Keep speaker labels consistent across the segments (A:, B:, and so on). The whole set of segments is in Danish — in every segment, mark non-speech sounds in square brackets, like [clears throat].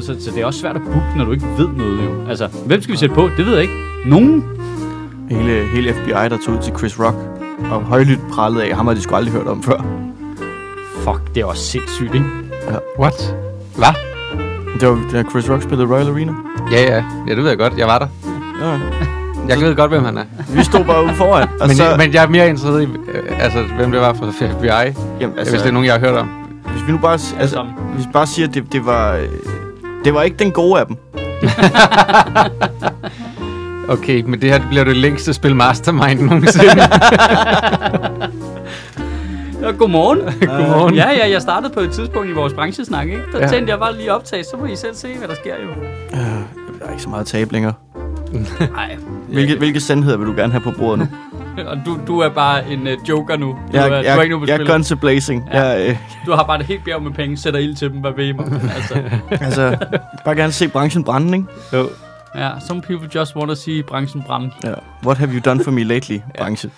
A: så, så det er også svært at booke, når du ikke ved noget jo. Altså, hvem skal vi sætte på? Det ved jeg ikke. Nogen?
B: Hele, hele FBI, der tog ud til Chris Rock og højlydt prallede af, ham har de sgu aldrig hørt om før.
A: Fuck, det er også sindssygt, ikke?
B: Altså-
C: What? Hvad?
B: Det var, da Chris Rock spillede Royal Arena.
C: Ja, ja. Ja, det ved jeg godt. Jeg var der.
B: Ja,
C: Jeg ved godt, hvem han er.
B: vi stod bare ude foran. Og
C: Men,
B: så,
C: jeg, men jeg er mere interesseret i, øh, altså, hvem det var fra FBI,
B: jamen,
C: altså, hvis det er nogen, jeg har hørt om.
B: hvis vi nu bare, s- altså,
A: sammen.
B: hvis vi bare siger, at det, det var... øh, Det var ikke den gode af dem.
C: Okay, men det her det bliver det længste spil Mastermind
B: [laughs]
C: nogensinde.
A: Ja,
B: [laughs]
A: godmorgen.
C: Godmorgen.
A: ja, ja, jeg startede på et tidspunkt i vores branchesnak, ikke? Der
C: Ja.
A: ja. tændte jeg bare lige optag, så må I selv se, hvad der sker jo.
B: Der er ikke så meget tab længere.
A: Nej,
B: Hvilke, hvilke sandheder vil du gerne have på bordet nu?
A: og du, du er bare en uh, joker nu. Du, er,
B: jeg,
A: du er ikke nogen
B: jeg,
A: på
B: jeg er
A: spillet.
B: guns blazing. Ja.
A: [laughs]
B: Jeg, øh,
A: Du har bare et helt bjerg med penge, sætter ild til dem, hvad ved I mig? Altså,
B: altså, bare gerne se branchen brænde, ikke?
C: Jo.
A: ja, some people just want to see branchen brænde.
B: Ja. What have you done for me lately, branche?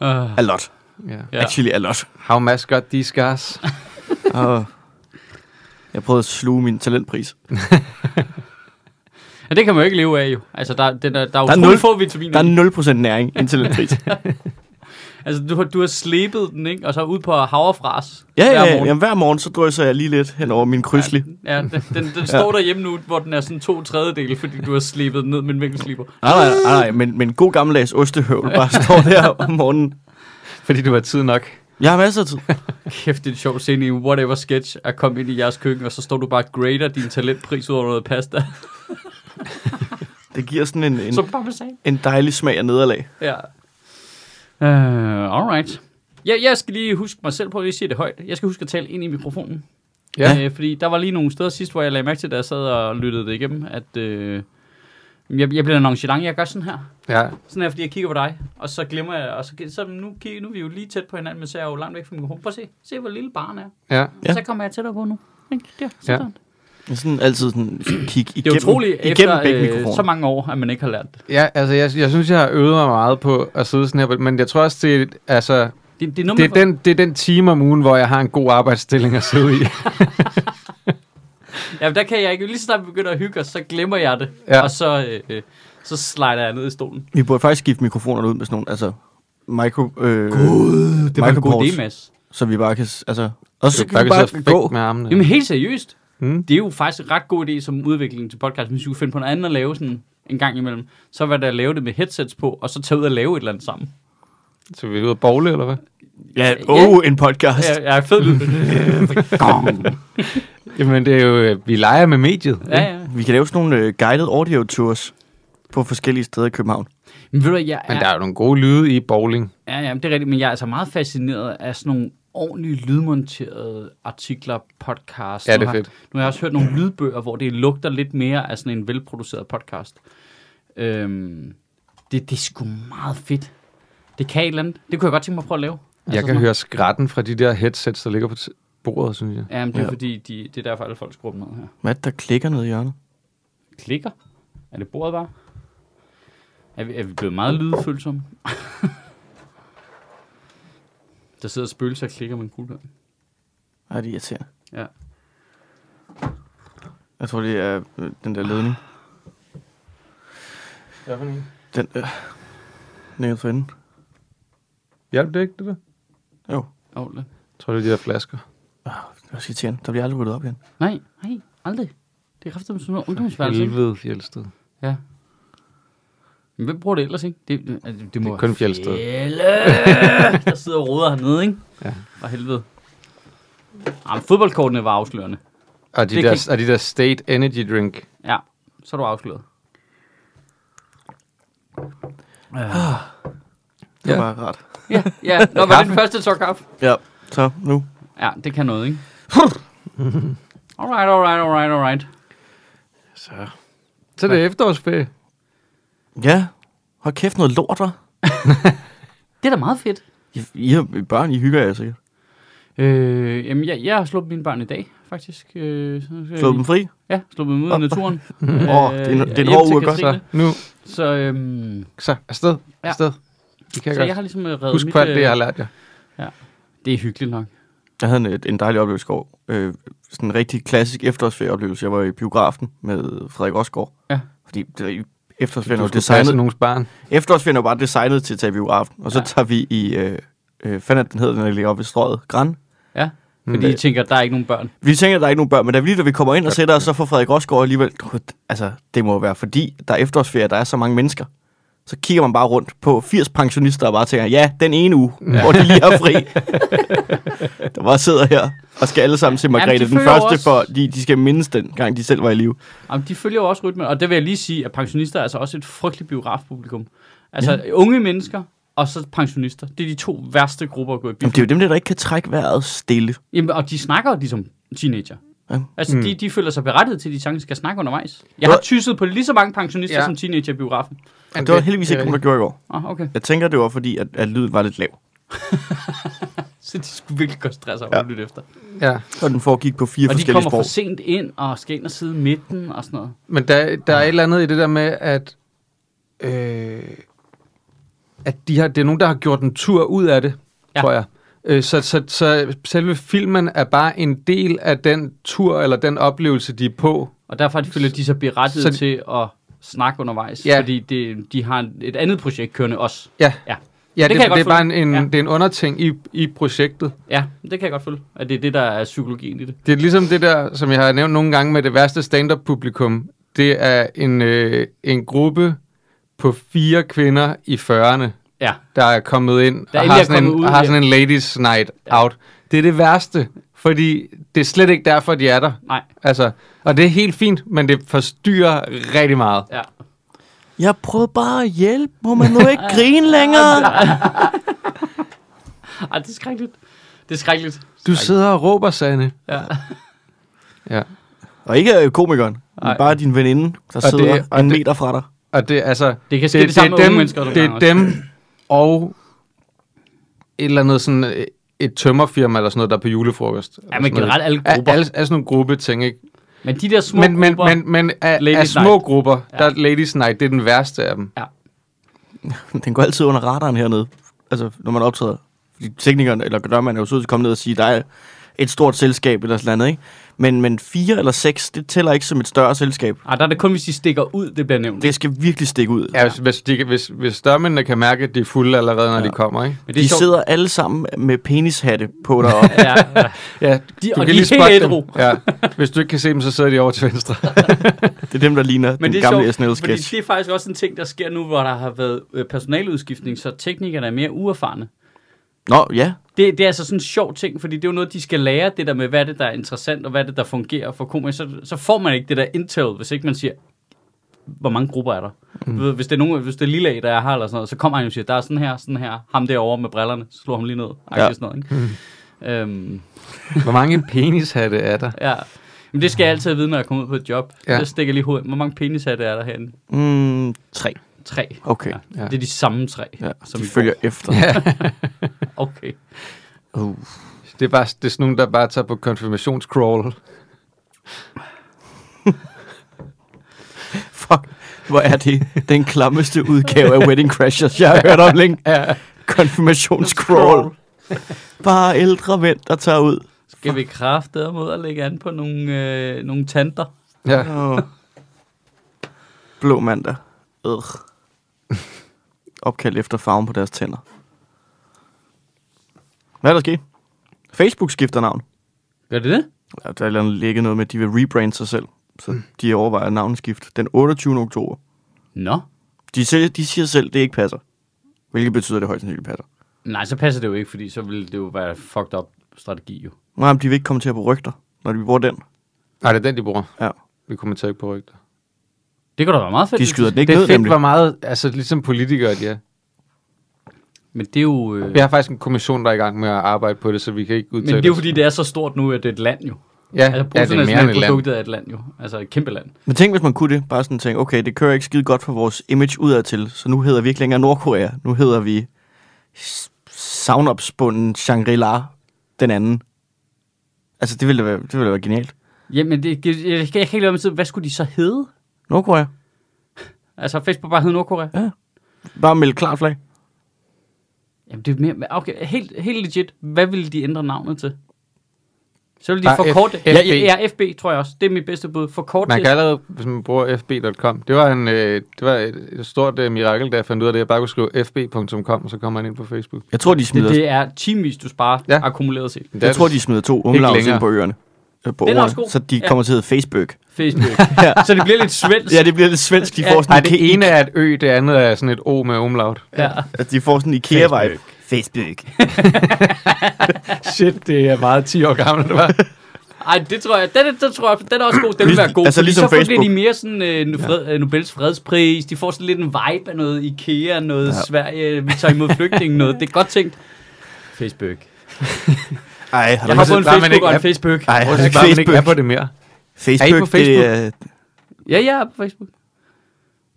A: Uh,
B: A lot.
C: ja.
A: ja.
B: Actually, a lot.
C: How much got these guys?
B: Og jeg prøvede at sluge min talentpris.
A: ja, det kan man jo ikke leve af jo. Altså, der, den er, der er,
B: Der er
A: utrolig
B: nul-
A: få vitaminer.
B: Der er 0% næring i en
A: [laughs]
B: talentpris.
A: Altså, du, har- du har slebet den, ikke? Og så ud på havrefras
B: Ja,
A: hver
B: ja, ja.
A: morgen.
B: Jamen, hver morgen, så drysser jeg lige lidt hen over min krydsli.
A: Ja, den, den,
B: [laughs]
A: den står derhjemme nu, hvor den er sådan to tredjedele, fordi du har slebet den ned med en vinkelsliber.
B: Nej, nej, nej, nej, men, men god gammeldags ostehøvl bare
A: [laughs]
B: står der om morgenen.
C: Fordi du var tid nok.
B: Jeg har masser af tid.
A: Kæft, det er en sjov scene i Whatever Sketch at komme ind i jeres køkken, og så står du bare og grader din talentpris ud over noget pasta.
B: Det giver sådan en, en,
A: Som parmesan.
B: en dejlig smag af nederlag.
A: Ja. Uh, alright. Ja, jeg skal lige huske mig selv på, at jeg siger det højt. Jeg skal huske at tale ind i mikrofonen.
C: Ja.
A: Øh, fordi der var lige nogle steder sidst, hvor jeg lagde mærke til, da jeg sad og lyttede det igennem, at øh, jeg, jeg bliver nonchalant. Jeg gør sådan her.
C: Ja.
A: Sådan her, fordi jeg kigger på dig, og så glemmer jeg, og så, så nu, kigger, nu er vi jo lige tæt på hinanden, men så er jeg jo langt væk fra mikrofonen. Prøv at se, se hvor lille barn er.
C: Ja.
B: Ja.
A: Ja. Så kommer jeg tættere på nu. Ikke? Der,
C: Ja.
A: sådan. Det
B: Jeg er sådan altid sådan, kig igennem,
A: er utroligt,
B: igennem
A: efter
B: begge
A: øh,
B: mikrofoner.
A: så mange år, at man ikke har lært det.
C: Ja, altså, jeg, jeg synes, jeg har øvet mig meget på at sidde sådan her, men jeg tror også, det er, altså,
A: Det, det er noget,
C: det er, den, det er den time om ugen, hvor jeg har en god arbejdsstilling at sidde i.
A: Ja, men der kan jeg ikke. Lige så snart vi begynder at hygge os, så glemmer jeg det.
C: Ja.
A: Ja. Og så, øh, øh, så slider jeg ned i stolen.
B: Vi burde faktisk skifte mikrofonerne ud med sådan nogle, altså, micro,
A: Det
B: øh,
A: var en god
B: microports,
A: idé, Mads.
B: så vi bare kan, s- altså, og så kan
C: Bare
B: vi
C: sidde
B: bare
C: og fægte
B: gå.
C: med armene.
A: Jamen helt seriøst.
C: Mm.
A: Mm. Det er jo faktisk en ret god idé som udvikling til podcast, hvis vi kunne finde på noget andet at lave sådan en gang imellem. Så var det at lave det med headsets på, og så tage ud og lave et eller andet sammen.
C: Så vi er ude og bowle, eller hvad?
B: Ja, åh, oh, en podcast.
A: Ja, jeg er fed.
C: Jamen, det er jo, øh, vi leger med mediet.
A: ja, ja.
B: Vi kan lave sådan nogle øh, guided audio tours på forskellige steder i København.
A: Men ved du, jeg
C: Men der
A: er,
C: er jo nogle gode lyde i bowling.
A: ja, ja, det er rigtigt, men jeg er altså meget fascineret af sådan nogle ordentligt lydmonterede artikler, podcast.
C: Ja, det er
A: Nu har-
C: fedt.
A: Nu har jeg også hørt nogle lydbøger, hvor det lugter lidt mere af sådan en velproduceret podcast. Øhm, det, det er sgu meget fedt. Det kan et eller andet. Det kunne jeg godt tænke mig at prøve at lave. Altså
C: Jeg kan
A: sådan-
C: høre skratten fra de der headsets, der ligger på t- bordet, synes jeg.
A: Ja, men det er
B: Ja.
A: ja. fordi, de, det er derfor alle folk skruer dem ned her.
B: Hvad er det, der klikker ned i hjørnet?
A: Klikker? Er det bordet bare? Er vi, er vi blevet meget lydfølsomme? [laughs] der sidder spøgelser og klikker med en kugler.
B: Ej, det er irriterende.
A: Ja.
B: Jeg tror, det er øh, den der ledning. Den der. Nede for enden.
C: Hjælp det ikke, det der?
B: Jo,
A: Oh, nej.
C: Jeg tror, det er de der flasker.
B: det var irriterende. Der bliver aldrig ryddet op igen.
A: nej, nej, aldrig. Det er kraftigt med sådan noget ungdomsværelse, ikke?
C: Helvede Fjeldsted.
A: Ja. Men hvem bruger det ellers, ikke? Det, det, det, det må
C: kun Fjeldsted. [laughs]
A: Fjelle! Der sidder og roder hernede, ikke?
C: Ja.
A: For helvede. Jamen, fodboldkortene var afslørende.
C: Og de,
A: Det
C: der,
A: kan-
C: og de der State Energy Drink.
A: Ja, så er du afsløret.
B: Det
C: Ah.
B: var
C: Ja.
B: bare rart.
A: Ja, ja. Nå, var det den første tår kaffe?
B: Ja, så nu.
A: Ja, det kan noget, [laughs] ikke? alright, alright, alright, alright.
C: Så. Så det er efterårsferie.
B: Ja, hold kæft noget lort, der.
A: Det er da meget fedt.
B: I, I har børn, I hygger jer sikkert.
A: Øh, jamen, jeg, jeg har sluppet mine børn i dag, faktisk. Øh, så skal
B: Slå
A: jeg-
B: dem fri.
A: Ja, sluppet dem ud i naturen. Åh, øh,
B: Åh, det er en- det er
A: hjem
B: en hård
A: til
B: uge at gøre.
C: Så
A: Katrine.
C: nu,
A: Så, øhm,
C: så afsted,
A: Ja.
C: afsted. Det kan
A: så
C: jeg
A: jeg
C: godt.
A: har ligesom øh, reddet
C: Husk
A: mit...
C: på alt det,
A: øh,
C: jeg har lært jer.
A: Det er hyggeligt nok.
B: Jeg havde en, et- en dejlig oplevelse i går. Øh, sådan en rigtig klassisk efterårsferieoplevelse. Jeg var i biografen med Frederik Osgaard.
A: Ja.
B: Fordi det, er- efterårsferien er
C: Du
B: jo
C: skulle designet...
B: designet,
C: nogens barn.
B: efterårsferien er jo bare designet til at tage i biografen. Og så
A: Ja.
B: ja. tager vi i, øh, øh, fanden er det, den hedder, den der ligger oppe i strøget, Gran.
A: Ja, fordi
C: Mm.
A: I tænker, at der er ikke nogen børn.
B: Vi tænker, at der er ikke nogen børn, men da vi lige da vi kommer ind og sætter os, så får Frederik Rosgaard alligevel... "Gud, Altså, det må jo være fordi, der er efterårsferie, der er så mange mennesker. Så kigger man bare rundt på 80 pensionister og bare tænker, ja, den ene uge, ja. hvor de lige har fri. der bare sidder her og skal alle sammen se
A: Jamen, de
B: Margrethe den
A: føler jo
B: første,
A: også-
B: fordi de skal mindes den gang, de selv var i live.
A: Jamen, de følger jo også rytmen, og det vil jeg lige sige, at pensionister er altså også et frygteligt biografpublikum. Altså ja. unge mennesker, og så pensionister. Det er de to værste grupper at gå i
B: Jamen,
A: biffen.
B: det er jo dem, der ikke kan trække vejret stille.
A: Jamen, og de snakker jo ligesom teenager.
B: Ja.
A: Altså, mm. de, de føler sig berettiget til, at de sagtens skal snakke undervejs. Jeg har
B: Nå.
A: tysset på lige så mange pensionister ja.
C: Ja.
A: som teenager i biografen.
B: Og det var heldigvis ikke, hvad gjorde i går.
A: Åh, oh, okay.
B: Jeg tænker, det var fordi, at, at lyden var lidt lav.
A: Så de skulle virkelig godt stresse over ja. at lytte efter.
C: Ja.
B: Og den foregik på fire
A: Og de
B: forskellige
A: kommer for
B: sprog.
A: sent ind, og skal ind og sidde i midten og sådan noget.
C: Men der,
A: Ah.
C: der er et eller andet i det der med, at, øh, at de har, det er nogen, der har gjort en tur ud af det,
A: Ja.
C: ja. tror jeg. Øh, så, så, så selve filmen er bare en del af den tur eller den oplevelse, de er på.
A: Og derfor føler de sig berettiget så
C: Så
A: de...
C: de-
A: til at snakke undervejs. Ja.
C: Ja.
A: Fordi det, de har en- et andet projekt kørende også.
C: Ja,
A: Ja.
C: ja
A: Det
C: det,
A: kan jeg
C: det, det,
A: godt
C: er bare en, en,
A: følge.
C: ja.
A: Ja.
C: det er en underting i, i projektet.
A: Ja, det kan jeg godt følge. At det er det, der er psykologien i det.
C: Det er ligesom det der, som jeg har nævnt nogle gange med det værste stand-up-publikum. Det er en, øh, en gruppe på fire kvinder i 40'erne,
A: Ja.
C: der er kommet ind
A: Der
C: der og,
A: endelig er
C: har sådan, en,
A: kommet ud,
C: og har
A: ja.
C: sådan en ladies night out. Det er det værste, fordi det er slet ikke derfor, de er der.
A: Nej.
C: Altså, og det er helt fint, men det forstyrrer rigtig meget.
A: Ja.
B: Jeg prøvede bare at hjælpe. Må man [laughs] nu ikke grine længere?
A: Ej, det er skrækkeligt. Det er skrækkeligt.
C: Du sidder og råber, Sanne.
A: Ja.
C: Ja.
B: Og ikke øh, komikeren,
A: Nej.
B: men bare din veninde, der og sidder
C: det-
B: det, en meter fra dig. [laughs]
C: Og det, altså,
A: Det kan ske det samme med unge mennesker, nogle
C: Det er
A: gange
C: dem og et eller andet sådan øh, et tømmerfirma eller sådan noget, der er på julefrokost.
A: Ja, men generelt alle
C: Alle,
A: grupper.
C: alle, alle sådan nogle gruppeting, ikke?
A: Men de der små
C: Men, men,
A: grupper...
C: men, men af, af
A: Ladies
C: små
A: night.
C: grupper,
A: Ja.
C: der er Ladies Night, det er den værste af dem.
B: Den går altid under radaren hernede, altså når man optræder. Fordi teknikeren eller dørmanden er jo sød til at komme ned og sige, der er et stort selskab eller sådan noget, ikke? Men, men fire eller seks, det tæller ikke som et større selskab.
A: Ej, Ah, der er det kun, hvis de stikker ud, det bliver nævnt.
B: Det skal virkelig stikke ud.
C: Ja, hvis, hvis, de, kan- hvis, hvis dørmændene kan mærke, at de er fulde allerede, når
B: Ja.
C: ja. de kommer, ikke?
A: men det er
B: De
A: sjovt.
B: sidder alle sammen med penishatte på deroppe.
A: [laughs] Ja,
B: [laughs]
A: ja.
C: Ja,
A: De- og de er helt ædru.
C: Ja. Hvis du ikke kan se dem, så sidder de over til
A: [laughs]
C: venstre.
B: det er dem, der ligner
A: Men
B: den
A: det er
B: gamle
A: sjovt, fordi
B: SNL-sketch.
A: det er faktisk også en ting, der sker nu, hvor der har været øh, personaludskiftning, så teknikerne er mere uerfarne.
B: Nå, ja.
A: Det, det er altså sådan en sjov ting, fordi det er jo noget, de skal lære, det der med, hvad er det, der er interessant, og hvad er det, der fungerer for komikere. Så, så får man ikke det der intel, hvis ikke man siger, hvor mange grupper er der. Mm. Du ved, hvis det er, nogen, hvis det er lille A, der er her, eller sådan noget, så kommer han jo og siger, der er sådan her, sådan her, ham derovre med brillerne, så slår ham lige ned. Ja.
B: Ja.
A: Sådan noget, ikke? Mm. Øhm,
C: Hvor mange penishatte er der?
A: ja. Men det skal jeg altid vide, når jeg kommer ud på et job. Ja.
C: Ja.
A: Det stikker lige hovedet. Hvor mange penishatte er der herinde?
B: Mm, tre.
A: Tre.
B: Okay.
A: Ja.
C: Ja.
A: Det er de samme tre,
B: Ja,
A: som
B: de
A: i går.
B: følger efter. [laughs] Ja.
A: Okay.
B: Uh.
C: Det er, bare, det er sådan nogen, der bare tager på konfirmationscrawl.
B: Fuck, hvor er det den klammeste udgave af Wedding Crashers, jeg har hørt om længe.
C: Ja.
B: Konfirmationscrawl. Bare ældre mænd, der tager ud.
A: Skal vi kraftedeme mod at lægge an på nogle, øh, nogle tanter?
C: ja.
B: Åh. Blå mandag. Øh. Opkald efter farven på deres tænder. Hvad er der sket? Facebook skifter navn.
A: Gør det det?
B: Ja, der er et eller andet ligget noget med, at de vil rebrande sig selv.
A: Mm.
B: Så de overvejer navneskift den 28. oktober.
A: Nå.
B: De, selv, de siger selv, det ikke passer. Hvilket betyder, at det højst sandsynligt passer.
A: Nej, så passer det jo ikke, fordi så ville det jo være fucked up strategi jo.
B: Nej, men de vil ikke kommentere på rygter, når de bruger den.
C: Nej, det er den, de bruger.
B: Ja.
C: Vi kommenterer ikke på rygter.
A: Det kunne da være meget fedt.
B: De skyder den
C: Det
B: ikke
C: er
B: ned,
C: fedt,
B: nemlig.
C: hvor meget, altså ligesom politikere, de er.
A: Men det er jo... Øh,
C: Vi har faktisk en kommission, der er i gang med at arbejde på det, så vi kan ikke
A: men
C: udtale
A: det er jo
C: os.
A: fordi, det er så stort nu, at det er et land jo.
C: ja,
A: Altså,
C: ja, det er mere end et land.
A: produktet er et land jo. Altså et kæmpe land.
B: Men tænk, hvis man kunne det. Bare sådan tænke, okay, det kører ikke skide godt for vores image udadtil, så nu hedder vi ikke længere Nordkorea. Nu hedder vi s- savnopsbunden Shangri-La den anden. Altså, det ville da være, det ville da være genialt.
A: Jamen, det, jeg, jeg, jeg kan ikke lade mig til, hvad skulle de så hedde?
B: Nordkorea.
A: Altså, Facebook bare hed Nordkorea?
B: Bare meld klart flag.
A: Jamen, det er mere... Okay, helt, helt legit. Hvad ville de ændre navnet til? Så vil de
C: Bare F-
A: forkorte...
C: FB.
A: Ja, ja, FB, tror jeg også. Det er mit bedste bud. Forkorte...
C: Man kan allerede, hvis man bruger fb.com. Det var, en, øh, det var et et stort øh, mirakel, da jeg fandt ud af det. Jeg bare kunne skrive fb.com, og så kommer man ind på Facebook.
B: Jeg tror, de smider,
A: det, det er timevis, du sparer ja.
C: Ja.
A: akkumuleret set.
C: Det er
B: jeg tror,
C: det-
B: de smider to umlauts ind
C: længere.
B: på øerne. Øh, På
A: Den er
B: ordene,
A: også god.
B: så de
A: Ja.
B: kommer til at hedde Facebook.
C: [laughs]
A: Facebook. Så det bliver lidt svensk.
B: Ja, det bliver lidt svensk. De
A: Ja.
B: får sådan
C: Nej,
B: en ke-
C: det ene er et ø, det andet er sådan et o med umlaut.
A: ja.
B: Altså, de får sådan en IKEA-vibe. Facebook.
C: Shit, det er meget 10 år gammelt, det var.
A: Ej, det tror jeg. Den, er- den, tror jeg, den er også god. Den vil være god.
B: Altså,
A: fordi
B: ligesom
A: så får- bliver de
B: Facebook.
A: mere sådan øh, fred, øh, Nobels fredspris. De får sådan lidt en vibe af noget IKEA, noget ja. Sverige. øh, Vi tager imod flygtninge, noget. Det er godt tænkt. Facebook.
B: Ej, har du
A: Jeg har
C: så
A: fået en
C: plejer man
A: Facebook
C: ikke
A: og en
C: at-
A: Facebook.
B: Ej,
C: Hvor er bare, man ikke er på det mere.
B: Facebook,
C: Er I på Facebook?
B: Det, er-
A: Ja, ja, på Facebook.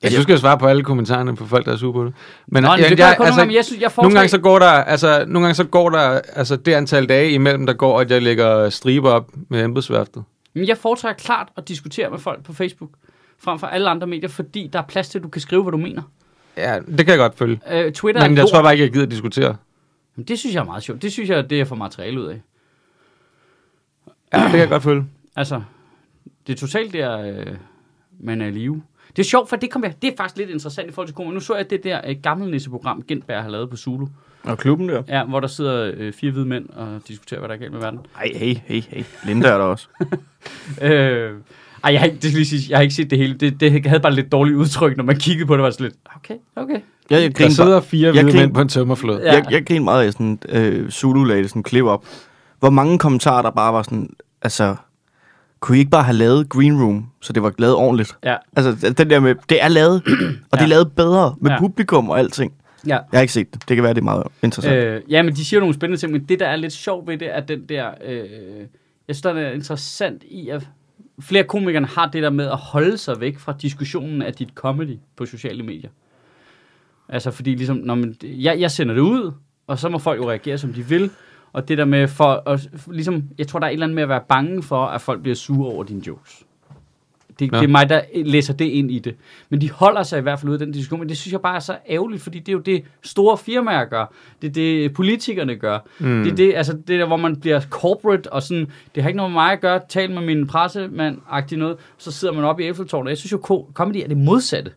C: Jeg synes, jeg Altså, skal svare på alle kommentarerne på folk, der er sure på det. Men, øh,
A: Nå, jeg, det gør jeg kun altså, nogle gange. Jeg, synes, jeg
C: Nogle
A: foretrækker-
C: gange, så går der, altså, nogle gange så går der altså, det antal dage imellem, der går, at jeg lægger striber op med embedsværftet.
A: Men jeg foretrækker klart at diskutere med folk på Facebook, frem for alle andre medier, fordi der er plads til, at du kan skrive, hvad du mener.
C: Ja, det kan jeg godt følge.
A: Øh, Twitter er
C: Men jeg
A: lort.
C: tror bare ikke, jeg gider at diskutere.
A: Jamen, det synes jeg er meget sjovt. Det synes jeg, det er for materiale ud af.
C: Ja, det kan jeg godt følge.
A: Altså, det er totalt der, øh, man er i live. Det er sjovt, for det, kom jeg, det er faktisk lidt interessant i forhold til corona. Nu så jeg det der øh, gamle nisseprogram, Gentberg har lavet på Zulu.
B: Og klubben der.
A: Ja, hvor der sidder øh, fire hvide mænd og diskuterer, hvad der er galt med verden.
B: Ej, hey, hey, hey. Linda er der også.
A: Øh, ej, jeg har, ikke, det skal lige sige, jeg har ikke set det hele. Det, det havde bare lidt dårligt udtryk, når man kiggede på det. var det sådan lidt, okay, okay.
B: Jeg, jeg,
C: Der
B: griner, bare,
C: sidder fire
B: Jeg
C: hvide
B: griner-
C: mænd på en tømmerflod.
A: Ja.
B: jeg, jeg griner meget af sådan, øh, Zulu lagde sådan en klip op. Hvor mange kommentarer, der bare var sådan, altså, kunne I ikke bare have lavet Green Room, så det var lavet ordentligt?
A: Ja,
B: Altså, den der med, det er lavet, og det
A: Ja.
B: er lavet bedre med
A: Ja.
B: publikum og alting.
A: ja.
B: Jeg har ikke set det. Det kan være, det er meget interessant. Øh,
A: Øh, ja, men de siger nogle spændende ting, men det, der er lidt sjovt ved det, er den der... Øh, jeg synes, der er interessant i, at flere komikere har det der med at holde sig væk fra diskussionen af dit comedy på sociale medier. Altså, fordi ligesom, når man, jeg, jeg sender det ud, og så må folk jo reagere, som de vil. Og det der med, for, og, ligesom, jeg tror, der er et eller andet med at være bange for, at folk bliver sure over dine jokes. Det,
C: Nå.
A: det er mig, der læser det ind i det. Men de holder sig i hvert fald ud af den diskussion, men det synes jeg bare er så ærgerligt, fordi det er jo det, store firmaer gør. Det er det, politikerne gør. Mm. Det er det, altså, det der, hvor man bliver corporate, og sådan, det har ikke noget med mig at gøre, tal med min pressemand-agtig noget, så sidder man oppe i Eiffeltårnet. Jeg synes jo, ko- comedy er det modsatte.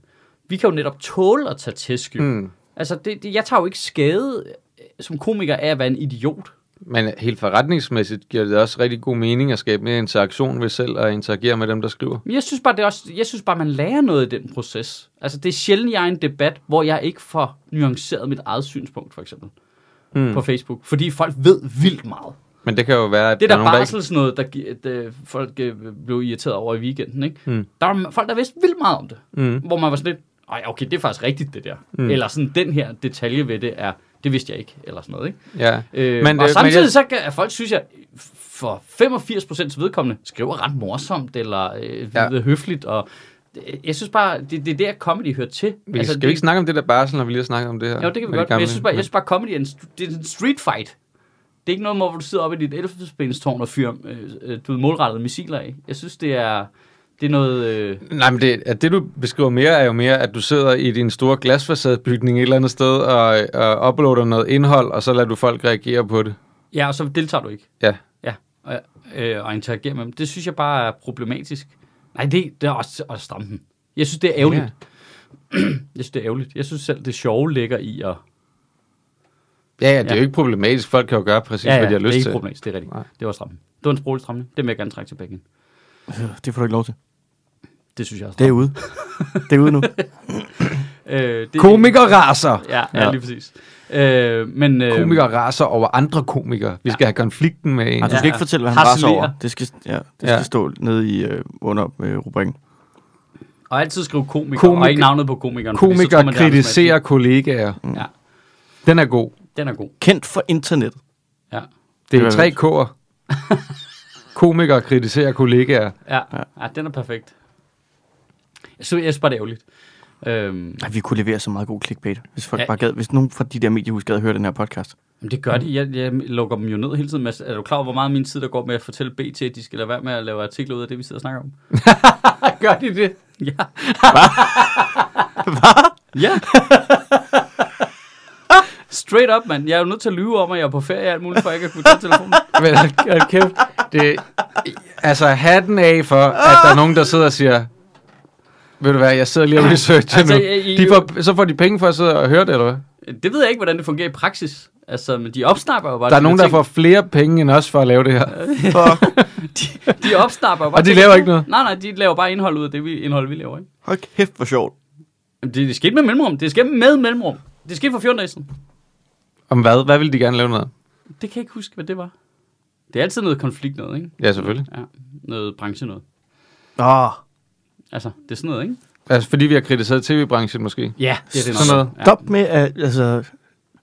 A: Vi kan jo netop tåle at tage tæsk, jo.
C: Mm.
A: Altså, det, det, jeg tager jo ikke skade øh, som komiker af at være en idiot.
C: Men helt forretningsmæssigt giver det også rigtig god mening at skabe mere interaktion ved selv at interagere med dem, der skriver.
A: Men jeg synes bare, det er også, jeg synes bare man lærer noget i den proces. Altså, det er sjældent, jeg er i en debat, hvor jeg ikke får nuanceret mit eget synspunkt, for eksempel.
C: Hmm.
A: Mm. På Facebook. Fordi folk ved vildt meget.
C: Men det kan jo være, at
A: Det
C: der
A: der,
C: er
A: der
C: nogen, der ikke
A: barsels noget, der, gi- at, øh, folk øh, blev irriteret over i weekenden, ikke?
C: Mm.
A: Der var folk, der vidste vildt meget om det.
C: Mm.
A: Hvor man var sådan lidt, Ej, okay, det er faktisk rigtigt, det der.
C: Hmm.
A: Mm. Eller sådan, den her detalje ved det er, det vidste jeg ikke, eller sådan noget, ikke?
C: Ja.
A: Øh, men,
C: Men,
A: og
C: øh,
A: samtidig
C: men
A: jeg...
C: jeg-
A: så kan at folk, synes jeg, for 85% vedkommende, skriver ret morsomt, eller øh, ja.
C: Ja.
A: høfligt, og øh, jeg synes bare, det, det er der, comedy hører til.
C: Vi altså, skal vi ikke snakke om det der barsel, når vi lige har snakket om det her?
A: Jo, det kan vi
C: Med
A: godt, men
C: gamle-
A: jeg synes bare, jeg synes bare comedy er en, st- det er en street fight. Det er ikke noget, hvor du sidder oppe i dit elfenbenstårn og fyrer øh, øh, du ved, målrettede missiler af. Jeg synes, det er, det er noget... Øh,
C: Nej, men det, at det du beskriver mere, er jo mere, at du sidder i din store glasfacadebygning et eller andet sted og, og uploader noget indhold, og så lader du folk reagere på det.
A: ja, og så deltager du ikke.
C: Ja.
A: Ja, og, øh, og interagere med dem. Det synes jeg bare er problematisk. Nej, det, det er også at stramme den. Jeg synes, det er ærgerligt. [clears throat] Jeg synes, det er ærgerligt. Jeg synes selv, det sjove ligger i at...
C: Ja, ja, det
A: Ja.
C: er jo ikke problematisk. Folk kan jo gøre præcis, ja, ja, hvad de har
A: det er
C: lyst
A: ikke
C: til.
A: problematisk, det er rigtigt. Nej.
C: Nej.
A: Det var strammen. Det var en sproglig stramning. Det vil jeg gerne trække tilbage igen.
B: Øh, det får du ikke lov til.
A: Det synes jeg også.
B: Det er ude. det er ude nu.
A: øh, det,
C: Komikere raser.
A: Ja, ja, lige præcis. Øh, men, øh,
C: Komikere raser over andre komikere. Vi skal have konflikten med en.
B: Nej, du skal
A: Ja,
B: ikke
A: ja.
B: fortælle, hvad han raser
A: Harcelerer.
B: over. Det skal, ja, det skal
C: Ja.
B: stå nede i, øh, under øh, rubrikken.
A: Og altid skrive komiker,
C: Komiker-
A: og ikke navnet på komikeren. fordi så tror
C: Komikere
A: man, det er Anders Madsen.
C: kritiserer kollegaer.
A: Ja,
C: Den er god.
A: den er god.
B: Kendt for internettet.
A: Ja,
C: Det
B: Det
C: er
B: er
C: tre
A: [laughs]
C: K'er. Komikere kritiserer
A: [laughs]
C: kollegaer.
A: ja, ja. ja den er perfekt. Jeg synes, jeg synes bare, det er ærgerligt. Øhm,
B: Ej, vi kunne levere så meget god clickbait, hvis folk
A: Ja.
B: ja. bare gad. Hvis nogen fra de der mediehus gad at høre den her podcast.
A: Jamen, det
C: Mm.
A: gør de. Jeg, jeg lukker dem jo ned hele tiden. Mads. Er du klar over, hvor meget af min tid, der går med at fortælle BT, at de skal lade være med at lave artikler ud af det, vi sidder og snakker om?
C: Gør de det?
A: Ja. Hvad? [laughs] Ja.
C: [laughs]
A: Straight up, mand. Jeg er jo nødt til at lyve om, at jeg er på ferie og alt muligt, for jeg ikke at kunne tage telefonen.
C: Men hold- hold kæft. Det, altså, hatten af for, at der er nogen, der sidder og siger, ved du hvad, jeg sidder lige og researcher
A: Altså,
C: altså, nu.
A: jeg- I-
C: De får, så får de penge for at sidde og høre det, eller hvad?
A: Det ved jeg ikke, hvordan det fungerer i praksis. Altså, men de opsnapper jo bare...
C: Der er
A: de
C: nogen,
A: her
C: der får flere penge end os for at lave det her.
B: Og,
A: ting. [laughs] De opsnapper jo bare...
C: Og de
A: ting.
C: laver ikke noget?
A: Nej, nej, de laver bare indhold ud af det vi, indhold, vi laver, ikke?
B: hold kæft, hvor sjovt.
A: Jamen, Det, det skete med mellemrum. Det skete med mellemrum. Det skete for 14 dage siden.
C: Om hvad? Hvad vil de gerne lave noget? af?
A: Det kan jeg ikke huske, hvad det var. Det er altid noget konflikt noget, ikke?
C: Ja, selvfølgelig.
A: Ja, noget branche noget.
B: Åh,
A: Altså, det er sådan noget, ikke?
C: Altså, fordi vi har kritiseret tv-branchen måske.
A: Ja, det er det nok.
C: Sådan noget.
A: Ja.
B: stop med at, altså,
A: Jeg,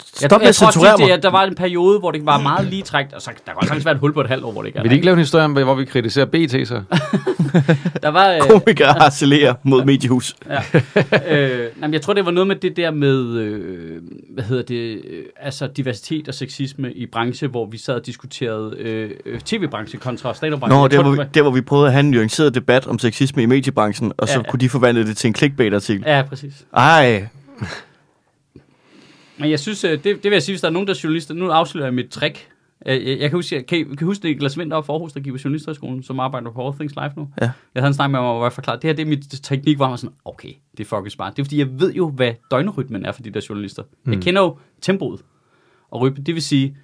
B: stop med
A: jeg
B: at
A: tror
B: censurere
A: også, det,
B: mig.
A: at der var en periode, hvor det var meget lige trækt, og så der kan også sagtens være et hul på et halvt år, hvor det ikke er.
C: Vil de ikke lave en historie om, hvor vi kritiserer BT så?
A: der. Der var, øh,
B: Komikere harcelerer mod mediehus.
A: øh, nej, men jeg tror, det var noget med det der med, øh, hvad hedder det, øh, altså diversitet og sexisme i branche, hvor vi sad og diskuterede øh, øh, tv-branche kontra stand-up-branche.
B: Nå,
A: Jeg
B: der
A: tror,
B: hvor,
A: det
B: vi,
A: var-
B: der hvor vi prøvede at have en nuanceret debat om sexisme i mediebranchen, og så
A: Ja.
B: kunne de forvandle det til en clickbait-artikel.
A: Ja, præcis.
B: Ej,
A: Men jeg synes, øh, det, det vil jeg sige, hvis der er nogen, der er journalister, nu afslører jeg mit trick. Øh, Jeg, jeg kan huske, jeg kan, I- kan I huske Niklas Vinter og Forhus, der gik på Journalisterskolen, som arbejder på All Things Live nu.
B: Ja.
A: Jeg havde en snak med ham, hvor jeg forklarede, det her det er mit teknik, hvor han var sådan, okay, det er fucking smart. Det er fordi, jeg ved jo, hvad døgnrytmen er for de der journalister. Mm. Jeg kender jo tempoet og rytmen. Det vil sige,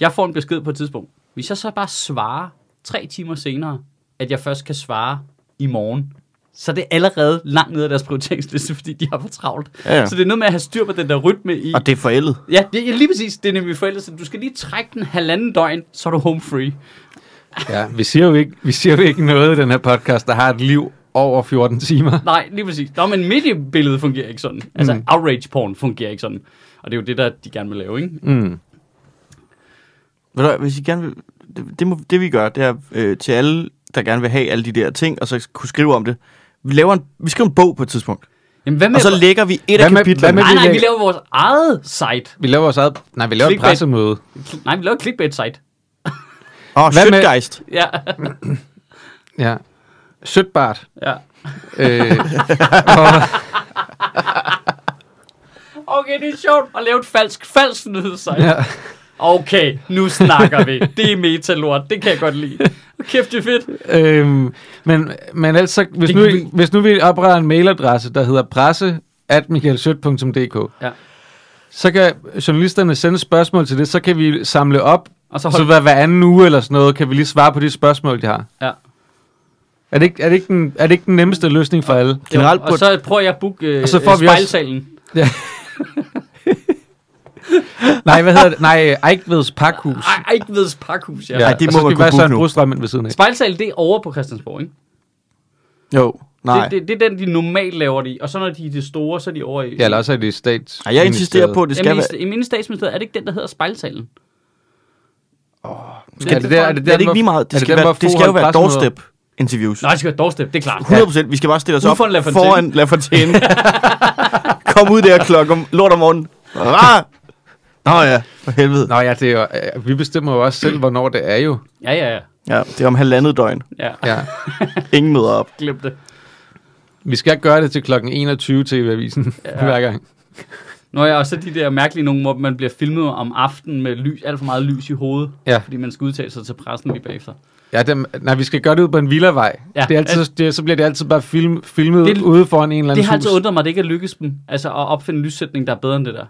A: jeg får en besked på et tidspunkt. Hvis jeg så bare svarer tre timer senere, at jeg først kan svare i morgen, så er det allerede langt nede af deres prioriteringsliste, [laughs] fordi de har for travlt.
B: Ja, ja.
A: Så det er noget med at have styr på den der rytme i.
B: og det er forældet.
A: Ja, det, ja, lige præcis. Det er nemlig forældre. Du skal lige trække den halvanden døgn, så er du home free.
C: Ja, vi siger, jo ikke, vi siger jo ikke noget i den her podcast, der har et liv over 14 timer.
A: Nej, lige præcis. Nå, men mediebilledet fungerer ikke sådan. Altså, mm. outrage porn fungerer ikke sådan. Og det er jo det, der de gerne vil lave, ikke?
C: Mm.
B: Ved du, hvad, hvis I gerne vil, det, det, må, det vi gør, det er øh, til alle, der gerne vil have alle de der ting, og så kunne skrive om det. Vi, laver en, vi skriver en bog på et tidspunkt,
A: Jamen, hvad med...
B: og så lægger vi et
C: Hvad
B: af
C: med- hvad
B: kapitlerne.
C: med-
A: nej, nej, vi
C: vi-
A: laver vores eget site.
C: Vi laver vores eget... Nej, vi laver et
A: Clickbait.
C: pressemøde.
A: Kl- Nej, vi laver et clickbait-site.
B: Åh, oh,
C: hvad med-
B: shitgeist.
A: Ja,
C: Ja. Sødbart.
A: ja.
C: Øh,
A: Okay, det er sjovt at lave et falsk, falsk nyhedssite.
C: ja.
A: Okay, nu snakker vi. Det er metalort. Det kan jeg godt lide. Kæft, det er fedt.
C: øhm, men, men altså, hvis
A: Det
C: nu,
A: kan vi-
C: hvis nu vi opretter en mailadresse, der hedder presse at michaelsødt.dk,
A: Ja.
C: så kan journalisterne sende spørgsmål til det, så kan vi samle op,
A: Og så
C: så
A: hold...
C: hver, hver anden uge eller sådan noget, kan vi lige svare på de spørgsmål, de har.
A: Ja.
C: Er det ikke, er det ikke, den, er det ikke den nemmeste løsning for alle?
B: Generelt
A: og
B: burde-
A: så prøver jeg at booke øh,
C: Og så får vi også-
A: spejlsalen.
C: Nej, hvad hedder det? Nej, Ejkveds Pakhus.
A: Ej, Ejkveds Pakhus, ja.
C: Ja,
A: ja.
B: Ej, det
C: og
B: må man
C: så skal vi
B: kunne
C: være
B: booke
C: Søren
B: nu.
C: Brostrøm ved siden af.
A: Spejlsal, det er over på Christiansborg, ikke?
B: Jo, nej.
A: Det, det, det, er den, de normalt laver det i. Og så når de er det store, så er de over i...
C: Ja, eller også er det stats.
B: Ej, jeg insisterer på, at det skal
A: Jamen,
B: være...
A: i, I mine statsministeriet er det ikke den, der hedder spejlsalen? Åh, oh,
C: Er det der, er det,
B: Det er det ikke lige meget. Det skal, være, det skal jo være doorstep-interviews.
A: Nej, det skal være doorstep, det er klart.
B: 100 procent. Vi skal bare stille os
A: Ude
B: op
A: foran La Fontaine.
B: foran La Fontaine. [laughs] Kom ud der klokken om, lort om morgenen. Rah! Nå ja, for helvede.
C: Nå ja, det er jo, øh, vi bestemmer jo også selv, hvornår det er jo.
A: Ja, ja, ja.
B: Ja, det er om halvandet døgn.
A: ja.
C: Ja.
B: Ingen møder op.
A: Glem det.
C: Vi skal gøre det til klokken 21 til avisen ja. [laughs] hver gang.
A: Nå ja, og så de der mærkelige nogen, hvor man bliver filmet om aftenen med lys, alt for meget lys i hovedet,
C: Ja.
A: fordi man skal udtale sig til pressen lige bagefter.
C: Ja, dem, nej, vi skal gøre det ud på en villavej.
A: Ja.
C: Ja. Det er altid, det, så bliver det altid bare film, filmet
A: Det-
C: det, ude foran en eller anden
A: Det har altid
C: hus.
A: undret mig, at det ikke er lykkedes dem, altså at opfinde en lyssætning, der er bedre end det der.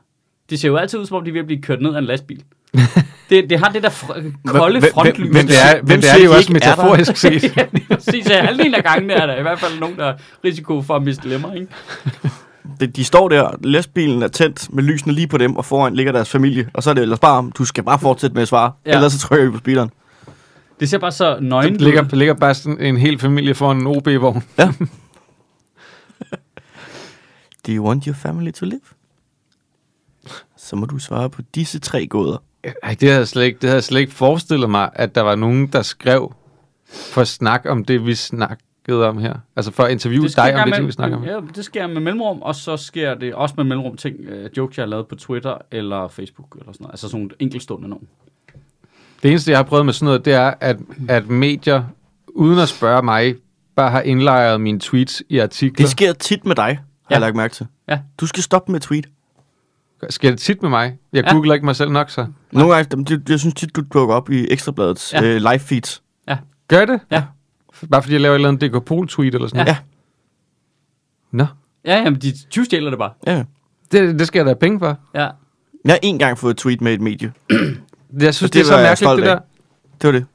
A: Det ser jo altid ud, som om de er ved at blive kørt ned af en lastbil.
C: [laughs]
A: det, det har det der fr- kolde
B: hvem-
A: frontlys.
B: hvem-
C: Men det er,
B: Hvem
C: men det
B: siger
C: er jo
B: I
C: også
B: ikke er der?
C: metaforisk
A: [laughs]
C: set.
A: ja, lige [laughs] præcis. Ja, halvdelen af gangen er der i hvert fald nogen, der er risiko for at miste lemmer, ikke?
B: De, de står der, lastbilen er tændt med lysene lige på dem, og foran ligger deres familie. Og så er det ellers bare, om, du skal bare fortsætte med at svare.
A: Ja.
B: Ja. Ellers så trykker vi på speederen.
A: Det ser bare så nøgen
C: Der ligger, der ligger bare sådan en hel familie foran en OB-vogn.
B: Do you want your family to live? Så må du svare på disse tre gåder.
C: Ej, det havde, jeg slet ikke, det havde jeg slet ikke forestillet mig, at der var nogen, der skrev for at snakke om det, vi snakkede om her. Altså for at interviewe dig om det, ting, vi snakker om.
A: Ja, det sker med mellemrum, og så sker det også med mellemrum ting, øh, jokes, jeg har lavet på Twitter eller Facebook eller sådan noget. Altså sådan nogle enkeltstående nogen.
C: Det eneste, jeg har prøvet med sådan noget, det er, at, at medier, uden at spørge mig, bare har indlejret mine tweets i artikler.
B: Det sker tit med dig, har
A: Ja.
B: jeg lagt mærke til.
A: Ja.
B: Du skal stoppe med at tweet.
C: sker, sker det tit med mig? Jeg
A: Ja.
C: googler ikke mig selv nok, så.
B: Nogle gange, dem- det- jeg synes tit, du dukker op i Ekstrabladets
A: Ja.
B: ja. øh, live feeds.
A: Ja.
C: Gør det?
A: Ja.
C: Bare fordi jeg laver et eller andet Dekopol-tweet eller sådan
A: Ja.
C: noget? Nå,
A: Ja, jamen, de tyvstjæler det bare.
B: Ja.
C: det, det skal jeg da have penge for.
A: Ja.
B: Jeg har en gang fået et tweet med et medie.
C: Jeg synes,
B: Og
C: det, det er
B: var
C: så
B: jeg
C: mærkeligt,
B: stolt
C: det
B: af.
C: der.
B: Det var det.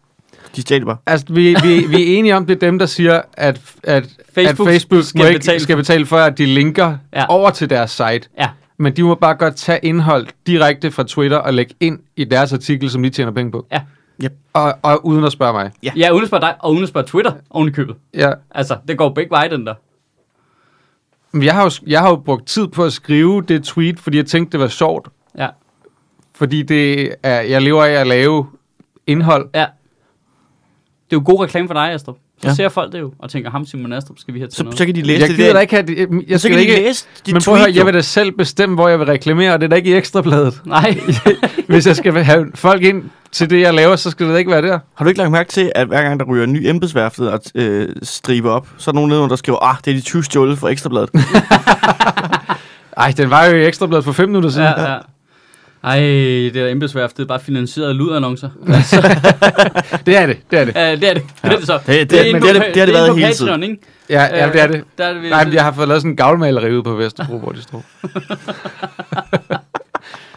B: De stjal det bare.
C: Altså, vi, vi, vi er enige om, det er dem, der siger, at, at Facebook,
A: Facebook
C: at Facebook skal,
A: skal
C: må
A: betale
C: ikke, betale.
A: for-
C: skal betale for, at de linker
A: Ja.
C: ja. over til deres site.
A: Ja.
C: Men de må bare godt tage indhold direkte fra Twitter og lægge ind i deres artikel, som de tjener penge på.
A: Ja.
B: Yep.
C: Og, og uden at spørge mig.
B: Ja.
A: Ja, uden at spørge dig, og uden at spørge Twitter oven i købet.
C: Ja.
A: Altså, det går begge veje, den der.
C: Men Jeg har, jo, jeg har jo brugt tid på at skrive det tweet, fordi jeg tænkte, det var sjovt.
A: Ja.
C: Fordi det er, jeg lever af at lave indhold.
A: Ja. Det er jo god reklame for dig, Astrup. Så ja.
B: Ja.
A: ser folk det jo, og tænker, ham Simon Astrup skal vi have til
B: Så,
A: noget.
B: så kan de læse
C: jeg
B: det
C: gider
B: der.
C: da ikke have... det- Jeg, jeg
B: så
C: skal
B: kan
C: da
B: de
C: ikke,
B: læse dit
C: men prøv at høre,
B: tweet,
C: jeg vil da selv bestemme, hvor jeg vil reklamere, og det er da ikke i ekstrabladet. [laughs]
A: Nej.
C: Hvis jeg skal have folk ind til det, jeg laver, så skal det da ikke være der.
B: Har du ikke lagt mærke til, at hver gang der ryger en ny embedsværftet og øh, striber op, så er der nogen nedenunder, der skriver, ah, det er de 20 stjålet fra Ekstrabladet. [laughs]
C: Ej, den var jo i ekstrabladet for fem minutter siden. Ja.
A: ja, ja. Ej, det der embedsværft, det er bare finansieret af luderannoncer.
C: Det er det, det er
A: [laughs]
C: det.
A: Ja, det er det. Det er det så.
B: det- det-
A: inde
B: men
A: på
B: det er det-
A: pa-
B: det har det været
A: inde på
B: hele tiden.
A: Patreon, ikke?
C: Ja, ja det er det.
A: Øh, Der er det,
C: Nej, men jeg har fået lavet sådan en gavlmaleri ude på Vesterbro, hvor
A: [laughs]
C: de står.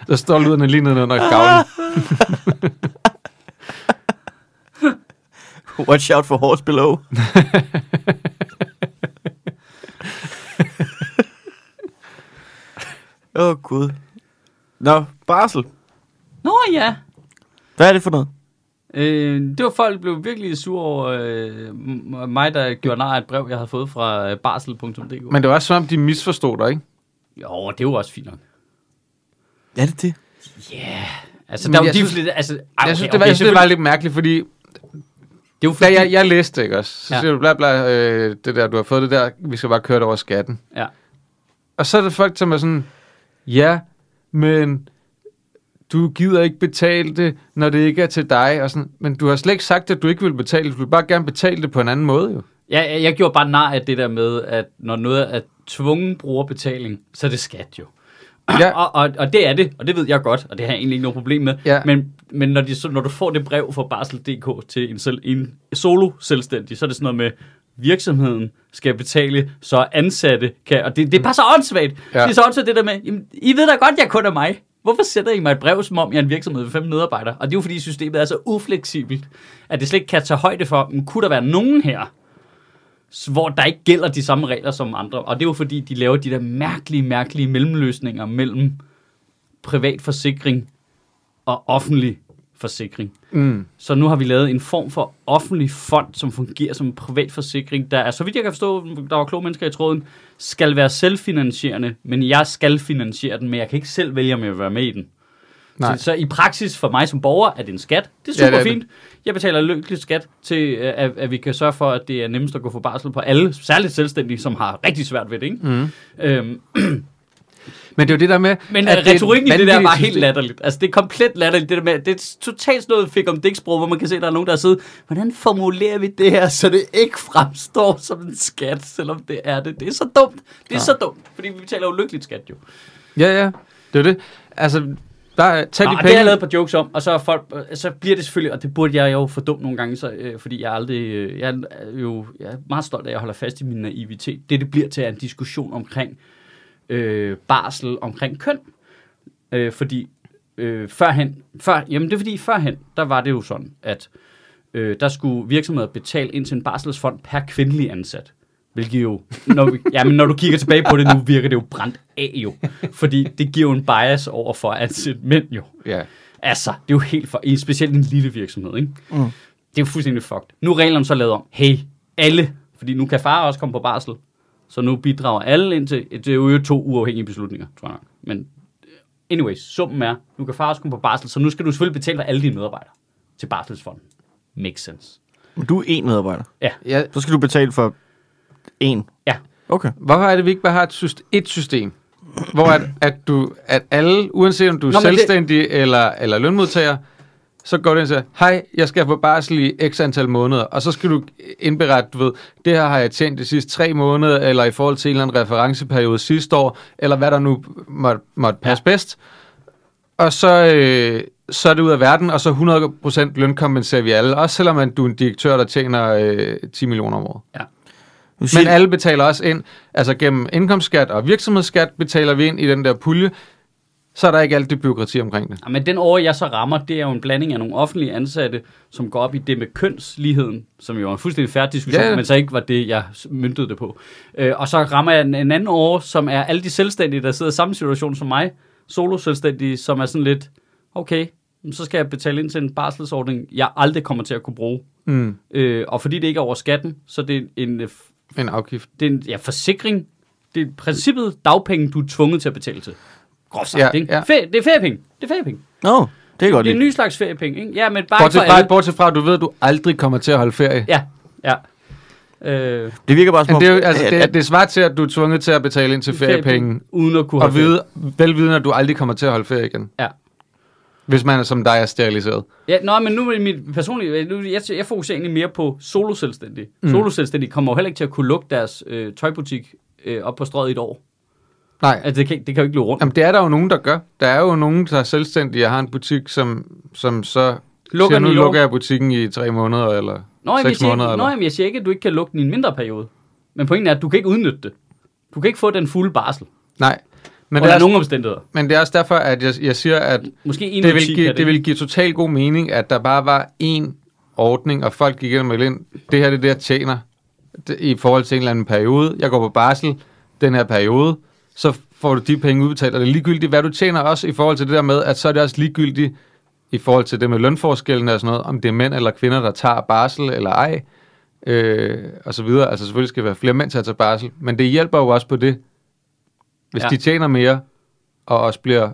C: Der står lyderne lige nedenunder gavlen.
B: Watch out for horse below. [laughs] Åh, oh, Gud. Nå, barsel.
A: Nå ja.
B: Hvad er det for noget?
A: Øh, det var folk, der blev virkelig sure over øh, m- mig, der gjorde nar af et brev, jeg havde fået fra øh, barsel.dk.
C: Men det var også som om, de misforstod dig, ikke?
A: Jo, det var også fint nok.
B: Er det det?
A: Altså,
C: Men
A: der var
C: jeg
A: de
C: synes-
A: lidt... Altså, ej,
C: Okay, jeg synes, det var,
A: okay,
C: jeg synes, det var lidt mærkeligt, fordi
A: Det var
C: da
A: fordi...
C: jeg, jeg læste det, ikke også? Så
A: Ja.
C: ja. siger du, bla bla, øh, det der, du har fået det der, vi skal bare køre det over skatten.
A: Ja.
C: Og så er der folk, som er sådan, ja, men du gider ikke betale det, når det ikke er til dig. Og sådan, men du har slet ikke sagt, at du ikke vil betale det. Du vil bare gerne betale det på en anden måde, jo.
A: Jeg, jeg, jeg gjorde bare nar af det der med, at når noget er tvungen brugerbetaling, så er det skat jo.
C: Ja.
A: Og, og, og det er det, og det ved jeg godt, og det har jeg egentlig ikke noget problem med.
C: Ja.
A: Men, men når, de, så- når du får det brev fra Barsel.dk til en, selv, en solo-selvstændig, så er det sådan noget med, virksomheden skal betale, så ansatte kan... Og det, det er bare så åndssvagt.
C: Ja.
A: Det er så åndssvagt det der med, jamen, I ved da godt, jeg kun er mig. Hvorfor sender I mig et brev, som om jeg er en virksomhed med fem medarbejdere? Og det er jo fordi, systemet er så ufleksibelt, at det slet ikke kan tage højde for, men kunne der være nogen her, s- hvor der ikke gælder de samme regler som andre. Og det er jo fordi, de laver de der mærkelige, mærkelige mellemløsninger mellem privat forsikring og offentlig forsikring.
C: Mm.
A: Så nu har vi lavet en form for offentlig fond, som fungerer som en privat forsikring, der er, så vidt jeg kan forstå, der var kloge mennesker i tråden, skal være selvfinansierende, men jeg skal finansiere den, men jeg kan ikke selv vælge, om jeg vil være med i den.
C: Nej.
A: Så, så i praksis for mig som borger er det en skat. Det er super
C: Ja, det
A: ja,
C: er
A: det
C: det.
A: fint. Jeg betaler lykkeligt skat til, øh, at, at vi kan sørge for, at det er nemmest at gå for barsel på alle, særligt selvstændige, som har rigtig svært ved det. Ikke? Mm.
C: Mhm.
A: Øhm,
C: Men det er jo det der med...
A: men
C: at
A: at retorikken i
C: et
A: det der var
C: vanvittigt
A: helt
C: system.
A: latterligt. Altså, det er komplet latterligt, det der med, det er totalt sådan noget fik om dæksprog, hvor man kan se, at der er nogen, der har siddet, hvordan formulerer vi det her, så det ikke fremstår som en skat, selvom det er det. Det er så dumt. Det er ja. så dumt, fordi vi betaler jo lykkeligt skat, jo.
C: Ja, ja. Det er jo det. Altså, der, er- tag
A: Nå,
C: de
A: og
C: penge.
A: det har jeg lavet på jokes om, og så, er folk, øh, så bliver det selvfølgelig, og det burde jeg jo for dum nogle gange, så, øh, fordi jeg aldrig, øh, jeg er jo jeg er meget stolt af, at jeg holder fast i min naivitet. Det, det bliver til, er en diskussion omkring øh, barsel, omkring køn. Øh, fordi øh, førhen, før, jamen det er fordi førhen, der var det jo sådan, at øh, der skulle virksomheder betale ind til en barselsfond per kvindelig ansat. Hvilket jo, når, vi, [laughs] jamen, når du kigger tilbage på det nu, virker det jo brændt af jo. Fordi det giver jo en bias over for at ansætte mænd jo.
C: Ja.
A: Altså, det er jo helt for... i Specielt en lille virksomhed, ikke? Mm. Det er jo fuldstændig fucked. Nu er reglerne så lavet om. Hey, alle. Fordi nu kan far også komme på barsel. Så nu bidrager alle ind til... Det er jo to uafhængige beslutninger, tror jeg nok. Men øh, anyways, summen er, nu kan far også komme på barsel, så nu skal du selvfølgelig betale for alle dine medarbejdere til barselsfonden. Makes sense.
B: Men du er én medarbejder.
C: ja.
B: Så skal du betale for én.
A: Ja,
B: Okay.
C: Hvorfor er det, vi ikke bare har et, syst- et system, hvor at, at, du, at alle, uanset om du
A: Nå,
C: er Nå,
A: men det-
C: selvstændig det... eller, eller lønmodtager, så går du ind og siger, hej, jeg skal på barsel i x antal måneder, og så skal du indberette, du ved, det her har jeg tjent de sidste tre måneder, eller i forhold til en eller anden referenceperiode sidste år, eller hvad der nu måtte, måtte passe ja. bedst. Og så, øh, så er det ud af verden, og så 100% lønkompenserer vi alle. Også selvom man, du er en direktør, der tjener øh, 10 millioner om året.
B: Nu
C: Men
B: siger,
C: alle betaler også ind, altså gennem indkomstskat og virksomhedsskat betaler vi ind i den der pulje, så er der ikke alt det byråkrati omkring det.
A: Ja, men den år, jeg så rammer, det er jo en blanding af nogle offentlige ansatte, som går op i det med kønsligheden, som jo er en fuldstændig færdig diskussion,
C: Ja, ja.
A: men så ikke var det, jeg s- møntede det på. Øh, og så rammer jeg en, en anden år, som er alle de selvstændige, der sidder i samme situation som mig, solo-selvstændige, som er sådan lidt, okay, men så skal jeg betale ind til en barselsordning, jeg aldrig kommer til at kunne bruge.
C: Mm.
A: Øh, og fordi det ikke er over skatten, så er det en, øh, f-
C: En afgift.
A: det er en ja, forsikring, det er i princippet dagpenge, du er tvunget til at betale til. Groft sagt,
C: Ja,
A: ikke?
C: ja.
A: Ferie, det er feriepenge. Det er feriepenge.
B: Nå, det er godt
A: Det er en
B: lidt.
A: ny slags feriepenge, ikke? Ja, men bare ikke for
C: Bortset fra,
A: alle.
C: bortset fra, at du ved, at du aldrig kommer til at holde ferie.
A: Ja, ja. Øh,
B: Det virker bare som
C: Men
B: om,
C: det, er jo, altså,
B: at,
C: det, er-
B: at,
C: det er svaret til, at du er tvunget til at betale ind til feriepenge,
A: Uden at kunne
C: og
A: holde ferie.
C: vide, velvidende, at du aldrig kommer til at holde ferie igen.
A: Ja.
C: Hvis man er som dig er steriliseret.
A: Ja, nå, men nu er mit personlige... Nu, jeg, jeg fokuserer egentlig mere på soloselvstændige. Mm. Soloselvstændige kommer jo heller ikke til at kunne lukke deres øh, tøjbutik øh, op på strøget i et år.
C: Nej,
A: Altså, det kan, det kan jo ikke løbe rundt.
C: Jamen, det er der jo nogen, der gør. Der er jo nogen, der er selvstændige og har en butik, som, som så
A: Lukker
C: siger,
A: den
C: nu
A: i år."
C: lukker jeg butikken i tre måneder eller
A: Nå, jamen, jeg
C: seks
A: siger,
C: måneder.
A: ikke, nå,
C: Eller.
A: jamen, jeg siger ikke, at du ikke kan lukke den i en mindre periode. Men pointen er, at du kan ikke udnytte det. Du kan ikke få den fulde barsel.
C: Nej, men
A: Men
C: det,
A: under
C: er,
A: nogen omstændigheder.
C: men det er også derfor, at jeg, jeg siger, at
A: Måske en
C: det
A: ud af
C: vil,
A: ti
C: give,
A: kan
C: det. det vil give total god mening, at der bare var én ordning, og folk gik ind og meldte ind, det her det er det, jeg tjener det, i forhold til en eller anden periode. Jeg går på barsel den her periode, så får du de penge udbetalt, og det er ligegyldigt, hvad du tjener også i forhold til det der med, at så er det også ligegyldigt i forhold til det med lønforskellen og sådan noget, om det er mænd eller kvinder, der tager barsel eller ej, øh, og så videre. Altså selvfølgelig skal der være flere mænd til at tage barsel, men det hjælper jo også på det, hvis
A: Ja.
C: ja. de tjener mere, og også bliver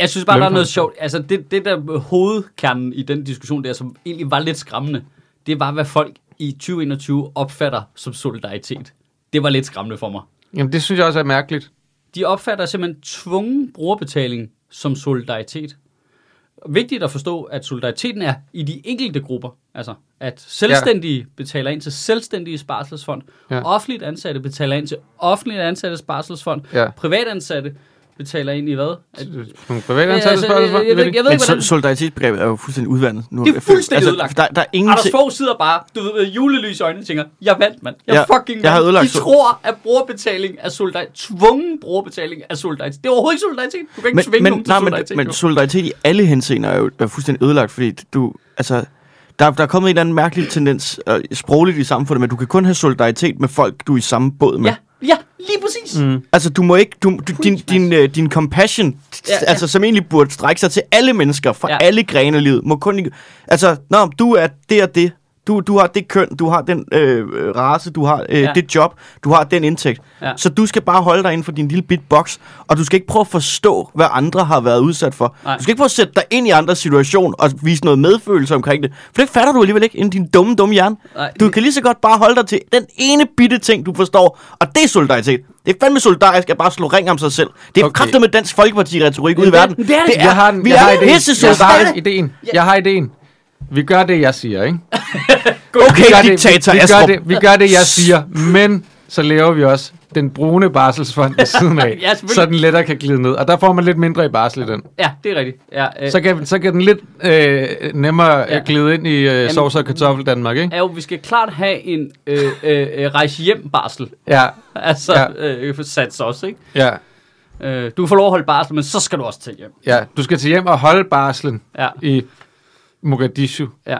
A: Jeg synes bare, der er noget
C: Lønkommission.
A: sjovt. Altså, det, det der hovedkernen i den diskussion der, som egentlig var lidt skræmmende, det var, hvad folk i 2021 opfatter som solidaritet. Det var lidt skræmmende for mig.
C: Jamen, det synes jeg også er mærkeligt.
A: De opfatter simpelthen tvungen brugerbetaling som solidaritet. Vigtigt at forstå, at solidariteten er i de enkelte grupper. Altså, at selvstændige ja. betaler ind til selvstændige sparselsfond, ja.
C: Ja.
A: offentligt ansatte betaler ind til offentligt ansatte sparselsfond, ja.
C: Ja.
A: privatansatte betaler ind i hvad? At,
C: Nogle private
A: Ja,
C: ansatte
A: altså, jeg, jeg, jeg, jeg, ved- jeg ved
B: men
A: ikke, hvordan...
B: so- solidaritetsbegrebet er jo fuldstændig udvandet. Nu,
A: Det er
B: Jeg føler-
A: fuldstændig ødelagt.
B: Der, der er ingen
A: Anders Fogh sidder bare, du ved, med julelys i øjnene og tænker, jeg vandt, mand. Jeg
B: Ja,
A: fucking vandt.
B: jeg har ødelagt
A: De
B: sol-
A: tror, at brugerbetaling er solidaritet. Tvungen brugerbetaling er solidaritet. Det er overhovedet ikke solidaritet. Du kan ikke tvinge nogen til
B: nej, men,
A: solidaritet.
B: men
A: jo.
B: solidaritet i alle henseender er jo er fuldstændig ødelagt, fordi du, altså, der, der er kommet en eller anden mærkelig tendens øh, sprogligt i samfundet, men du kan kun have solidaritet med folk, du er i samme båd med.
A: ja, ja, lige præcis. Mm.
B: Altså, du må ikke, du, du, din,
A: Preach,
B: din, øh, din compassion,
A: Ja,
B: ja,
A: ja.
B: altså, som egentlig burde strække sig til alle mennesker fra
A: Ja.
B: ja. alle grene af livet, må kun ikke, altså, nå, du er det og det, du, du har det køn, du har den øh, race, du har
A: Ja.
B: øh, ja. det job, du har den indtægt.
A: Ja.
B: Ja. Så du skal bare holde dig inden for din lille bit box, og du skal ikke prøve at forstå, hvad andre har været udsat for.
A: Nej.
B: Nej. Du skal ikke prøve at sætte dig ind i andres situation og vise noget medfølelse omkring det, for det fatter du alligevel ikke inden din dumme, dumme hjerne.
A: Nej,
B: Du
A: det-
B: kan lige så godt bare holde dig til den ene bitte ting, du forstår, og det er solidaritet. Det er fandme solidarisk at bare slå ring om sig selv. Det er
C: Okay.
B: okay. med dansk folkeparti-retorik ude i
A: Det-
B: verden.
A: det er det.
C: Jeg har, den,
B: vi
C: jeg har
B: er
C: ideen.
B: pisse
C: Jeg har
B: solidariske.
C: ideen. Jeg har ideen. Vi gør det, jeg siger, ikke? Vi gør
B: Okay,
C: det,
B: diktator
C: vi, vi, gør
B: Astrup.
C: det, vi gør det, jeg siger, men så laver vi også den brune barselsfond ved siden af,
A: [laughs] Ja, selvfølgelig.
C: så den lettere kan glide ned. Og der får man lidt mindre i barsel i den.
A: Ja, det er rigtigt. Ja, øh,
C: Så kan, så kan den lidt øh, nemmere
A: Ja.
C: ja. glide ind i øh, sovs og kartoffel Danmark, ikke?
A: er jo, vi skal klart have en øh, øh, øh, rejse hjem barsel.
C: Ja,
A: Altså, ja.
C: Ja.
A: øh, sats også, ikke?
C: ja,
A: Øh, du får lov at holde barsel, men så skal du også til hjem.
C: ja. Du skal til hjem og holde barslen
A: Ja,
C: i Mogadishu.
A: ja.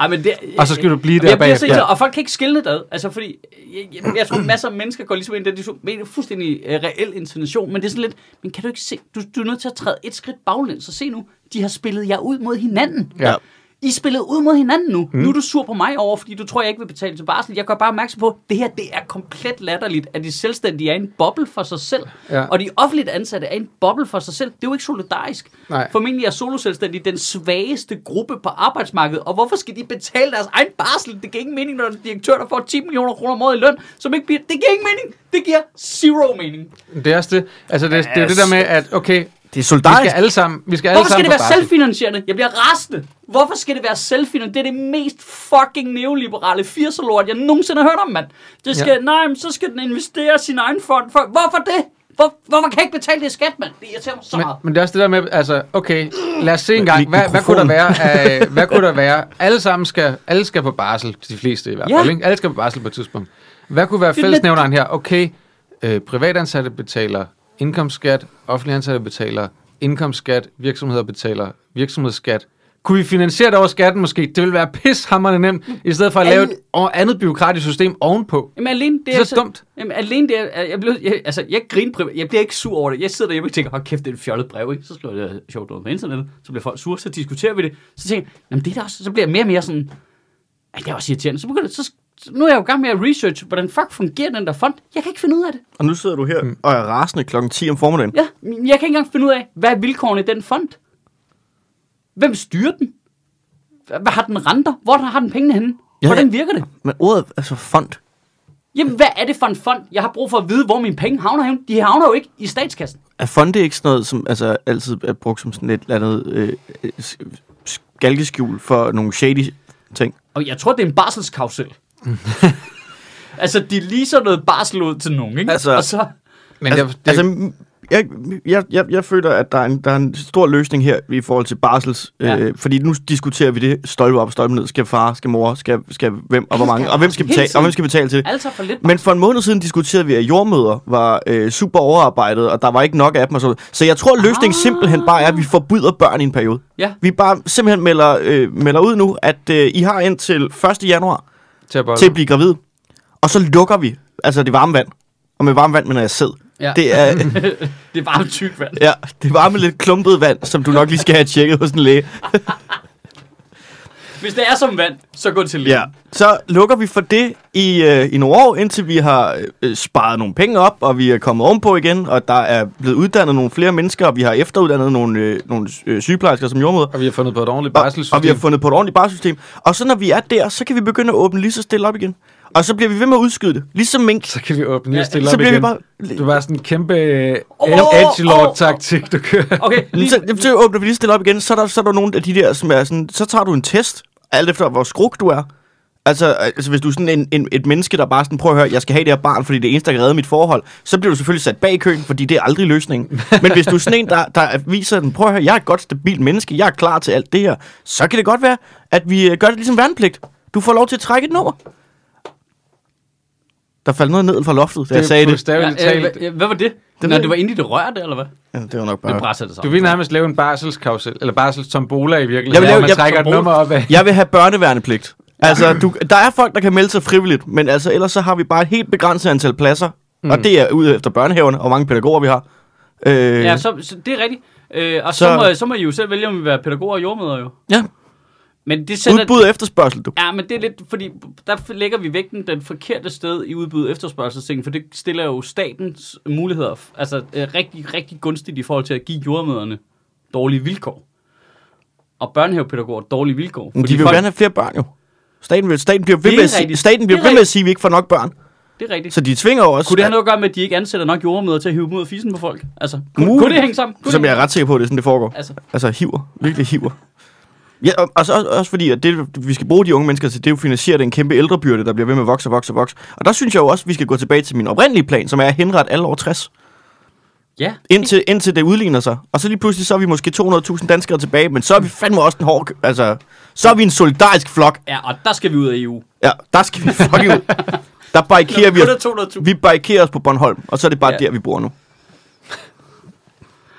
A: Ej, men det,
C: Og så skal du blive
A: Jamen,
C: der
A: jeg bliver
C: bagefter.
A: så irriteret, og folk kan ikke skille det ad. Altså, fordi jeg, jeg, jeg tror, masser af mennesker går ligesom ind i den diskussion med en fuldstændig øh, reel intention, men det er sådan lidt, men kan du ikke se, du, du er nødt til at træde et skridt baglæns, så se nu, de har spillet jer ud mod hinanden.
C: Ja.
A: I spillede ud mod hinanden nu. Mm. Nu er du sur på mig over, fordi du tror, jeg ikke vil betale til barsel. Jeg gør bare opmærksom på, at det her det er komplet latterligt, at de selvstændige er i en boble for sig selv.
C: Ja.
A: Og de offentligt ansatte er i en boble for sig selv. Det er jo ikke solidarisk.
C: Nej.
A: Formentlig er soloselvstændige den svageste gruppe på arbejdsmarkedet, og hvorfor skal de betale deres egen barsel? Det giver ingen mening, når der er en direktør, der får 10 millioner kroner om året i løn, som ikke bliver... Det giver ingen mening! Det giver zero mening.
C: Det er også det. Altså, det, det er jo det der med, at okay,
B: Det er
C: Vi skal
B: solidarisk.
C: alle sammen, vi skal alle
A: Hvorfor skal
C: sammen
A: det
C: på
A: være
C: barsel.
A: selvfinansierende? Jeg bliver rasende. Hvorfor skal det være selvfinansierende? Det er det mest fucking neoliberale 80'er-lort, jeg nogensinde har hørt om, mand. Det skal, ja.
C: Ja.
A: nej, men så skal den investere i sin egen fond. For, hvorfor det? Hvor, hvorfor kan jeg ikke betale det i skat, mand? Det irriterer mig så
C: Men,
A: meget.
C: men det er også det der med, altså, okay, lad os se en gang,
B: Mik-
C: hvad, hvad kunne der
B: mikrofonen.
C: være?
B: [laughs]
C: Af, hvad kunne der være? Alle sammen skal, alle skal på barsel, de fleste i hvert
A: Ja.
C: fald, ikke? Alle skal på barsel på et tidspunkt. Hvad kunne være
A: er lidt-
C: fællesnævneren her? Okay, øh, privatansatte betaler indkomstskat, offentlige ansatte betaler indkomstskat, virksomheder betaler virksomhedsskat. Kunne vi finansiere det over skatten måske? Det ville være pishammerende nemt, i stedet for at lave et o- andet byråkratisk system ovenpå.
A: Jamen alene det altså-
C: Det er så dumt.
A: Jamen alene det er, jeg, blev, jeg, altså, jeg griner privat, jeg bliver ikke sur over det. Jeg sidder derhjemme og tænker, hold kæft, det er et fjollet brev, ikke? Så skriver jeg øh, sjovt noget på internettet, så bliver folk sure, så diskuterer vi det. Så tænker jeg, jamen det er da også, så bliver jeg mere og mere sådan, at det er også irriterende. Så, begynder, så nu er jeg jo i gang med at research, hvordan fuck fungerer den der fond. Jeg kan ikke finde ud af det.
B: Og nu sidder du her
C: Mm.
B: og er rasende klokken 10 om formiddagen.
A: Ja, jeg kan ikke engang finde ud af, hvad er vilkårene i den fond? Hvem styrer den? Hvad hvad har den renter? Hvor har den pengene henne?
B: Ja,
A: Hvordan
B: ja.
A: virker det?
B: Men ordet, altså fond,
A: Jamen, hvad er det for en fond? Jeg har brug for at vide, hvor mine penge havner hen. De havner jo ikke i statskassen.
B: er fonde ikke sådan noget, som altså, altid er brugt som sådan et eller andet øh, øh, s- skalkeskjul for nogle shady ting?
A: Og jeg tror, det er en
B: [laughs]
A: barselskausel. altså, de leaser noget barsel ud til nogen, ikke?
B: Altså-
A: og så,
C: Men
B: altså,
C: det,
B: det... altså m- jeg, jeg, jeg, jeg føler, at der er, en, der er en stor løsning her i forhold til barsels.
A: Ja.
B: Ja. Øh, fordi nu diskuterer vi det stolpe op, stolpe ned. Skal far, skal mor, skal, skal hvem og hvor mange? Og hvem skal
A: Hele
B: betale,
A: tiden.
B: og hvem skal betale til det?
A: altså for lidt.
B: Men for en måned siden diskuterede vi, at jordmøder var øh, super overarbejdet, og der var ikke nok af dem. Og sådan. noget. Så jeg tror, løsningen
A: Ah.
B: ah. simpelthen bare er, at vi forbyder børn i en periode.
A: Ja. [laughs]
B: Vi bare simpelthen melder, øh, melder ud nu, at øh, I har indtil 1. januar
C: til at,
B: til at blive gravid. Og så lukker vi, altså det varme vand. Og med varme vand mener jeg sæd.
A: Ja.
B: Det er,
A: Det er bare tykt vand.
B: ja, det varme lidt klumpet vand, som du nok lige skal have tjekket hos en læge.
A: Hvis det er som vand, så gå til lægen.
B: Ja. Så lukker vi for det i, øh, i nogle år, indtil vi har øh, sparet nogle penge op, og vi er kommet ovenpå igen, og der er blevet uddannet nogle flere mennesker, og vi har efteruddannet nogle, øh, nogle øh, sygeplejersker som jordmøder.
C: og vi har fundet på et ordentligt
B: Og,
C: barselssystem.
B: og vi har fundet på et ordentligt barsystem. Og så når vi er der, så kan vi begynde at åbne lige så stille op igen. Og så bliver vi ved med at udskyde det. Ligesom mink.
C: så kan vi åbne lige
A: Ja,
C: og stille
B: så
C: op
B: bliver vi
C: igen.
B: bare-
C: Du var sådan en kæmpe
A: Åh,
C: oh,
A: åh,
C: edgelord-taktik, du kører.
A: Okay, lige,
B: Så, jamen, så åbner vi lige så stille op igen, så er der, så er der nogle af de der, som er sådan, så tager du en test, alt efter hvor skruk du er. Altså, altså hvis du er sådan en, en, et menneske, der bare sådan, prøver at høre, jeg skal have det her barn, fordi det er det eneste, der kan redde mit forhold, så bliver du selvfølgelig sat bag i køen, fordi det er aldrig løsningen. Men hvis du er sådan en, der, der viser den, prøv at høre, jeg er et godt, stabilt menneske, jeg er klar til alt det her, så kan det godt være, at vi øh, gør det ligesom værnepligt. Du får lov til at trække et nummer. Der faldt noget ned fra loftet, da jeg sagde det.
A: ja,
C: bogstaveligt
A: øh,
C: talt.
A: hva- hvad var det?
B: ved
A: det Nå,
B: jeg
A: det var inde i det rør, det, eller hvad?
B: Ja, det var nok
A: Det
B: bare...
A: brænder det
C: Du
A: sammen.
C: vil nærmest lave en barselskausel, eller barselstombola i
B: Jeg
C: virkeligheden,
B: vil
C: hvor
B: lave-
C: man
B: jeg-
C: trækker et
B: tombola.
C: nummer op af.
B: Jeg vil have børneværnepligt. Altså, du, der er folk, der kan melde sig frivilligt, men altså, ellers så har vi bare et helt begrænset antal pladser. Mm. Og det er ude efter børnehaverne, og hvor mange pædagoger vi har. Øh,
A: Ja,
B: ja, så...
A: så, så det er rigtigt. Øh, og så, så,
B: Så-
A: må, så må I jo selv vælge, om I vil være pædagoger og jordmøder jo.
B: ja.
A: Men det sender,
B: Udbud og efterspørgsel, du.
A: Ja, men det er lidt, fordi der lægger vi vægten den forkerte sted i udbud og efterspørgselstingen, for det stiller jo statens muligheder, f- altså øh, rigtig, rigtig gunstigt i forhold til at give jordmøderne dårlige vilkår. Og børnehavepædagoger dårlige vilkår.
B: Men de vil jo gerne have flere børn, jo. Staten, vil, staten bliver ved,
A: Det er
B: med at, sige,
A: rigtigt.
B: staten bliver
A: Det er
B: ved med at
A: rigtigt.
B: sige, at vi ikke får nok børn.
A: Det er rigtigt.
B: Så de tvinger jo også,
A: kunne det have noget at gøre med, at de ikke ansætter nok jordmøder til at hive dem ud af fisen på folk? Altså, kunne,
B: Muligt.
A: kunne det hænge sammen? Kunne
B: som
A: det
B: jeg
A: hænge-
B: er ret sikker på, at det er sådan, det foregår.
A: Altså,
B: Altså hiver, virkelig hiver. Ja, og, og så, også, også fordi, at det, vi skal bruge de unge mennesker til, det er jo at finansiere den kæmpe ældrebyrde, der bliver ved med at vokse og vokse og vokse. Og der synes jeg jo også, at vi skal gå tilbage til min oprindelige plan, som er at henrette alle over 60,
A: ja.
B: indtil, indtil det udligner sig. Og så lige pludselig, så er vi måske 200.000 danskere tilbage, men så er vi fandme også en hård... kø- Altså, så er vi en solidarisk flok.
A: Ja, og der skal vi ud af E EU.
B: Ja, der skal vi fucking ud. Der barrikerer vi os,
A: Kun er 200.000.
B: vi barrikerer os på Bornholm, og så er det bare
A: Ja.
B: ja. der, vi bor nu.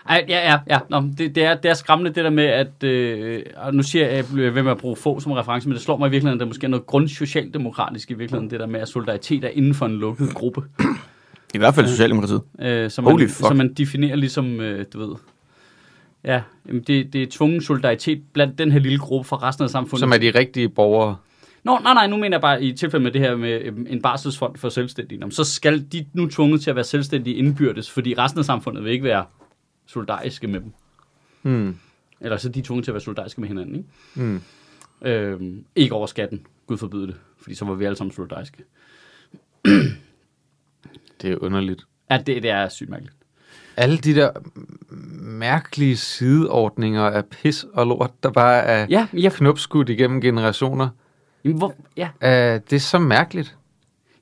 A: Ej, ja, ja, ja. Nå, men det, det, er, det er skræmmende det der med, at... Øh, og nu siger jeg, øh, at jeg bliver ved med at bruge få som reference, men det slår mig i virkeligheden, at der måske er noget grundsocialdemokratisk i virkeligheden, det der med, at solidaritet er inden for en lukket gruppe,
B: I hvert fald Socialdemokratiet.
A: øh, som,
B: Holy
A: man,
B: fuck.
A: som man definerer ligesom, øh, du ved... Ja, jamen det, det er tvungen solidaritet blandt den her lille gruppe fra resten af samfundet.
C: Som er de rigtige borgere.
A: Nå, nej, nej, nu mener jeg bare i tilfælde med det her med øhm, en barselsfond for selvstændige. Nå, men Så skal de nu tvunget til at være selvstændige indbyrdes, fordi resten af samfundet vil ikke være solidariske med dem.
C: Hmm.
A: Eller så er de tvunget til at være solidariske med hinanden, ikke?
C: Hmm.
A: Øhm, ikke over skatten. Gud forbyde det. Fordi så var vi alle sammen solidariske.
C: Det er underligt.
A: Ja, det, det er sygt mærkeligt.
C: Alle de der m- mærkelige sideordninger af pis og lort, der bare er ja.
A: Ja, men jeg,
C: knopskudt igennem generationer.
A: jamen, hvor, ja.
C: Uh, det er så mærkeligt.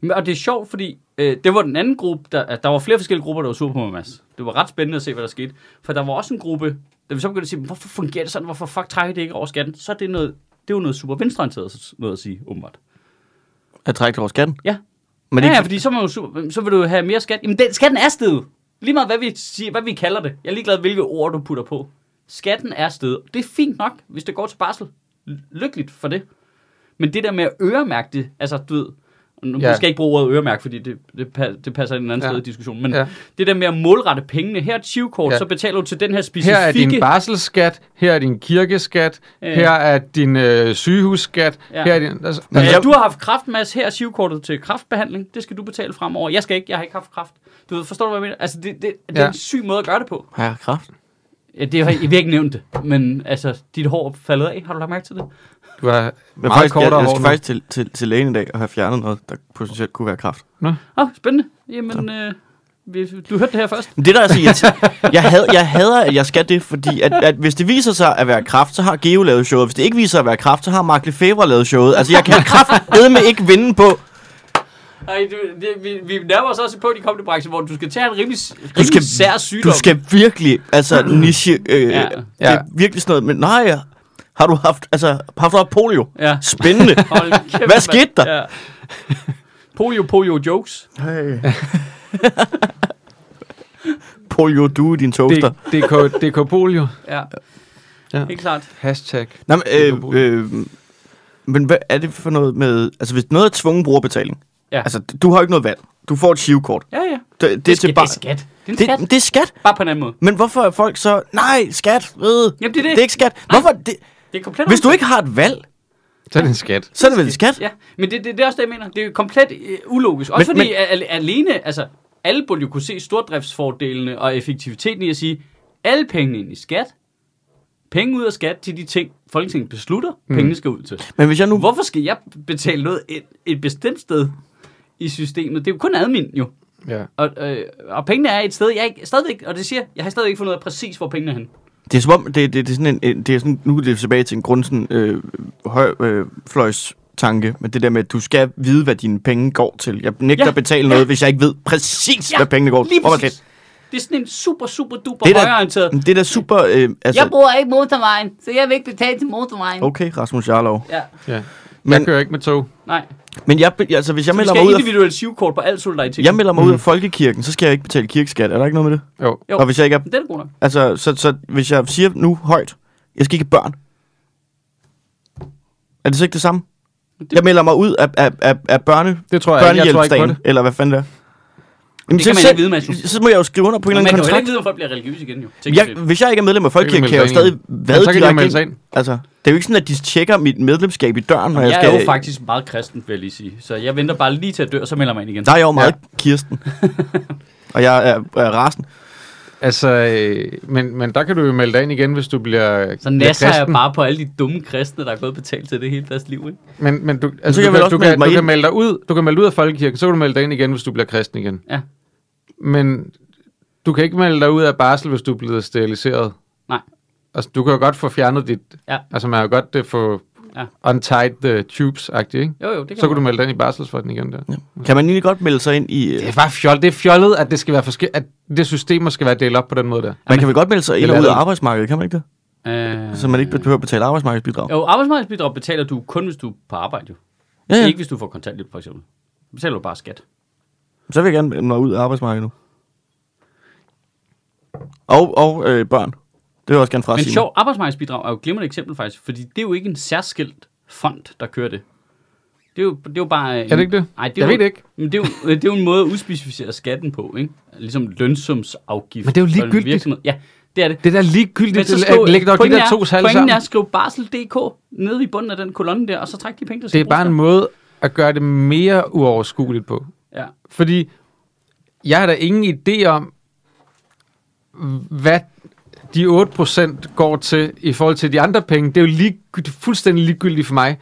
A: Jamen, og det er sjovt, fordi Øh, det var den anden gruppe, der, at der var flere forskellige grupper, der var sur på mig, Mads. Det var ret spændende at se, hvad der skete. For der var også en gruppe, der vi så begyndte at sige, "Men hvorfor fungerer det sådan? Hvorfor fuck trækker det ikke over skatten? Så er det noget, det er jo noget super venstreorienteret noget at sige, åbenbart.
B: At trække det over skatten.
A: Ja,
B: Men det
A: ja,
B: er
A: ja,
B: ikke,
A: fordi så, er man jo super, så vil du jo have mere skat. Jamen, den, skatten er steget. Lige meget, hvad vi, siger, hvad vi kalder det. Jeg er ligeglad, hvilke ord du putter på. Skatten er steget. Det er fint nok, hvis det går til barsel. L- Lykkeligt for det. Men det der med at øremærke det, altså du ved, nu
C: Ja.
A: ja. skal jeg ikke bruge ordet øremærke, fordi det, det, pa- det passer ind en anden
C: Ja.
A: ja. sted i diskussionen, men
C: Ja.
A: ja. det der med at målrette pengene, her er et 20-kort,
C: Ja.
A: ja. så betaler du til den her
C: Her
A: specifikke...
C: er din barselsskat, her er din kirkeskat,
A: Ja.
C: her er din øh, sygehusskat,
A: Ja.
C: her er din... Altså,
A: Ja,
B: jeg-
A: du har haft kræft, Mads. Her er sivkortet til kræftbehandling. Det skal du betale fremover. Jeg skal ikke. Jeg har ikke haft kræft. Du ved, forstår du, hvad jeg mener? Altså, det, det, det
C: Ja.
A: er en syg måde at gøre det på.
B: ja, kraft.
A: Ja, det har jeg, vi har ikke nævnt det, men altså, dit hår er faldet af. Har du lagt mærke til det?
C: du har
B: Men
C: meget
B: faktisk, jeg,
C: kortere
B: jeg
C: hår
B: skal
C: nu.
B: faktisk til, til, til lægen i dag og have fjernet noget, der potentielt kunne være kraft.
A: Åh, oh, spændende. Jamen, øh, vi- du hørte det her først.
B: Men det der er så irriterende, [laughs] jeg, had, jeg hader, at jeg skal det, fordi at, at hvis det viser sig at være kraft, så har Geo lavet showet. Hvis det ikke viser sig at være kraft, så har Mark Lefebvre lavet showet. Altså, [laughs] jeg kan kraft med ikke vinde på.
A: Ej, du, det, vi, vi nærmer os også på i kommende branche, hvor du skal tage en rimelig,
B: Du
A: rimelig
B: skal,
A: sær sygdom.
B: du skal virkelig, altså niche, øh, ja.
A: Ja.
B: det
C: Ja.
B: er virkelig sådan noget, men nej, har du haft, altså, har du haft polio?
A: Ja.
B: Spændende. [laughs]
A: Hold kæft,
B: Hvad skete
A: mand. [laughs]
B: der?
A: Ja. Polio, polio jokes.
B: [laughs] polio, du i din toaster.
C: D- DK, DK Polio.
A: Ja.
C: Ja.
A: ja. Helt klart.
C: Hashtag.
B: Nej, men,
C: DK
B: øh, øh, men hvad er det for noget med, altså hvis noget er tvungen brugerbetaling,
A: Ja.
B: altså du har jo ikke noget valg, du får et shivkort.
A: Ja, ja.
B: Det, det, det, er til
A: skat,
B: bare,
A: det er skat. Det er en skat.
B: det, det er skat.
A: Bare på en anden måde.
B: Men hvorfor er folk så, nej, skat, øh,
A: Jamen, det er det.
B: det er ikke skat. Hvorfor, det,
A: Det er komplet
B: hvis du ikke har et valg,
C: Så er det en skat.
B: så er det vel skat?
A: Ja, men det, det, det er også det, jeg mener. Det er jo komplet øh, ulogisk. Også
B: Men-
A: men, fordi men, al, alene, altså alle burde jo kunne se stordriftsfordelene og effektiviteten i at sige, alle pengene ind i skat, penge ud af skat til de ting, Folketinget beslutter, mm. pengene skal ud til.
B: Men hvis jeg nu,
A: Hvorfor skal jeg betale noget et, et bestemt sted i systemet? Det er jo kun admin jo.
C: Ja.
A: Og, øh, og pengene er et sted, jeg ikke, stadigvæk, og det siger, jeg har stadigvæk ikke fundet ud af præcis, hvor pengene er henne.
B: Det er som om, det, det, det er sådan en, en- det er sådan, nu er det tilbage til en grund, sådan, øh, høj, øh, fløjs tanke, men det der med, at du skal vide, hvad dine penge går til. Jeg nægter ja.
A: Ja,
B: at betale noget, hvis jeg ikke ved præcis, ja. hvad pengene går til.
A: lige
B: Hvor var
A: præcis. Det er sådan en super, super duper
B: Det er da-
A: højreorienteret.
B: Det, det er da super... Øh, altså,
D: Jeg bruger ikke motorvejen, så jeg vil ikke betale til motorvejen.
A: Mm.
B: Okay, Rasmus Jarlov.
A: Ja,
C: ja. Men, jeg
B: Men,
C: kører ikke med tog.
A: nej.
B: men jeg, be- altså, hvis jeg
A: Så vi
B: melder
A: skal
B: mig, ud
A: have
B: af,
A: individuelt sivkort på alt solidaritet.
B: jeg melder mig ud af
C: Mm.
B: folkekirken, så skal jeg ikke betale kirkeskat. Er der ikke noget med det?
C: Jo.
A: Jo.
B: Og hvis jeg ikke er,
A: Den er god nok.
B: altså, så, så, hvis jeg siger nu højt, jeg skal ikke have børn. Er det så ikke det samme? Jeg melder mig ud af, af, af, af børne,
C: Det tror jeg ikke. Jeg tror ikke på
B: børnehjælpsdagen,
C: det.
B: eller hvad fanden det er. Jamen,
A: Det
B: så-
A: kan man
B: så-
A: ikke vide, Mads.
B: Så må jeg jo skrive under på en
A: Men
B: eller
A: man kan jo heller ikke
B: anden kontrakt.
A: vide, om folk bliver religiøse igen, jo.
B: Jeg, hvis jeg ikke er medlem af Folkekirken,
C: melde
B: kan jeg jo
C: sig ind
B: stadig
C: igen.
B: vade
C: så kan de jo melde
B: direkte
C: sig
B: ind.
C: ind.
B: Altså, det er jo ikke sådan, at de tjekker mit medlemskab i døren, når jeg,
A: jeg
B: skal...
A: er jo faktisk meget kristen, vil jeg lige sige. Så jeg venter bare lige til at dø, og så melder jeg mig ind igen.
B: Der er jeg jo meget Kirsten. Og jeg er, er rasen.
C: Altså, øh, men, men der kan du jo melde dig ind igen, hvis du bliver
A: Så
C: bliver
A: nasser jeg
C: kristen.
A: bare på alle de dumme kristne, der er gået og betalt til det hele deres liv, ikke?
C: Men, men du, altså,
B: kan jeg vel
C: du, kan,
B: også
C: du, kan,
B: melde mig
C: du kan
B: ind.
C: melde dig ud. Du kan melde dig ud af folkekirken, så kan du melde dig ind igen, hvis du bliver kristen igen.
A: Ja.
C: Men du kan ikke melde dig ud af barsel, hvis du er blevet steriliseret.
A: Nej.
C: Altså, du kan jo godt få fjernet dit...
A: Ja.
C: Altså, man kan jo godt det få ja.
A: Ja.
C: untied the tubes-agtigt, ikke?
A: Jo, jo, det kan
C: Så kan du
A: man.
C: melde dig ind i barselsfonden igen der. Ja.
B: Kan man egentlig godt melde sig ind i...
C: Det
B: øh,
C: er bare fjollet. Det er fjollet, at det skal være forskel, at det systemer skal være delt op på den måde der.
B: Man kan vel godt melde sig ind og
C: Eller
B: ud af
C: hvad?
B: arbejdsmarkedet, kan man ikke det?
A: Øh,
B: Så man ikke behøver at betale arbejdsmarkedsbidrag.
A: Jo, arbejdsmarkedsbidrag betaler du kun, hvis du er på arbejde, jo.
B: Ja, ja.
A: Ikke hvis du får kontanthjælp, for eksempel. Så betaler du bare skat.
B: Så vil jeg gerne melde mig ud af arbejdsmarkedet nu. Og, og øh, børn. Det vil jeg også gerne
A: Men
B: frasige. mig.
A: sjov, arbejdsmarkedsbidrag er jo et glimrende eksempel, faktisk. Fordi det er jo ikke en særskilt fond, der kører det. Det er jo, det er jo bare... En,
C: Er det ikke det?
A: Nej, det er
C: Jeg
A: jo,
C: ved det ikke.
A: Men det er, jo, det er jo en måde at udspecificere skatten på, ikke? Ligesom lønsumsafgift.
C: Men det er jo
A: for en
C: ligegyldigt.
A: virksomhed. Ja, det er det.
C: Det der ligegyldigt, det, at lægge nok de
A: pointen
C: der to
A: er,
C: tal
A: pointen
C: sammen.
A: er at skrive barsel.dk nede i bunden af den kolonne der, og så træk de penge, der
C: Det
A: skal
C: er bare en
A: bruges
C: måde at gøre det mere uoverskueligt på.
A: der. Ja.
C: Fordi jeg har da ingen idé om, hvad de 8% går til i forhold til de andre penge. Det er jo lige, fuldstændig ligegyldigt for mig,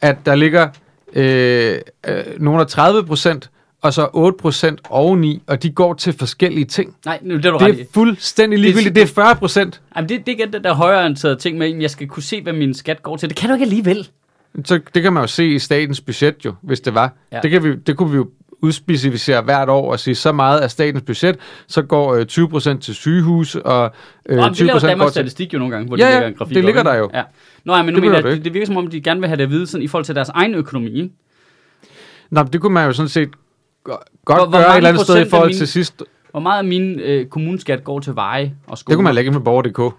C: at der ligger øh, øh, nogle af 30% og så 8% oveni, og de går til forskellige ting.
A: Nej, nu, det er du ret
C: Det
A: i.
C: er fuldstændig ligegyldigt. Det er 40%.
A: Jamen, det, det er igen den der højreorienterede ting med, at jeg skal kunne se, hvad min skat går til. Det kan du ikke alligevel.
C: Så det kan man jo se i statens budget jo, hvis det var. Ja.
A: Ja.
C: Det, kan vi, det kunne vi jo udspecificere hvert år og sige, så meget af statens budget, så går øh, 20% til sygehus, og øh,
A: Nå, men det laver
C: 20% går
A: Danmarks
C: til...
A: Statistik jo nogle gange, hvor
C: Ja,
A: de
C: ja,
A: lægger en grafik
C: det
A: op,
C: ligger
A: ikke?
C: der jo.
A: Ja. Nå, ja, men nu mener
C: Det behøver
A: jeg,
C: du
A: at det,
C: ikke.
A: det virker som om, de gerne vil have det at vide sådan, i forhold til deres egen økonomi. Ikke?
C: Nå, men det kunne man jo sådan set go-
A: Hvor-
C: godt
A: hvor
C: gøre et
A: mange
C: eller andet sted
A: procent
C: i
A: af
C: forhold
A: mine-
C: til sidst. Det
A: Hvor meget af min øh, kommuneskat går til veje og skole?
C: kunne man lægge ind på borger.dk.
A: Jamen,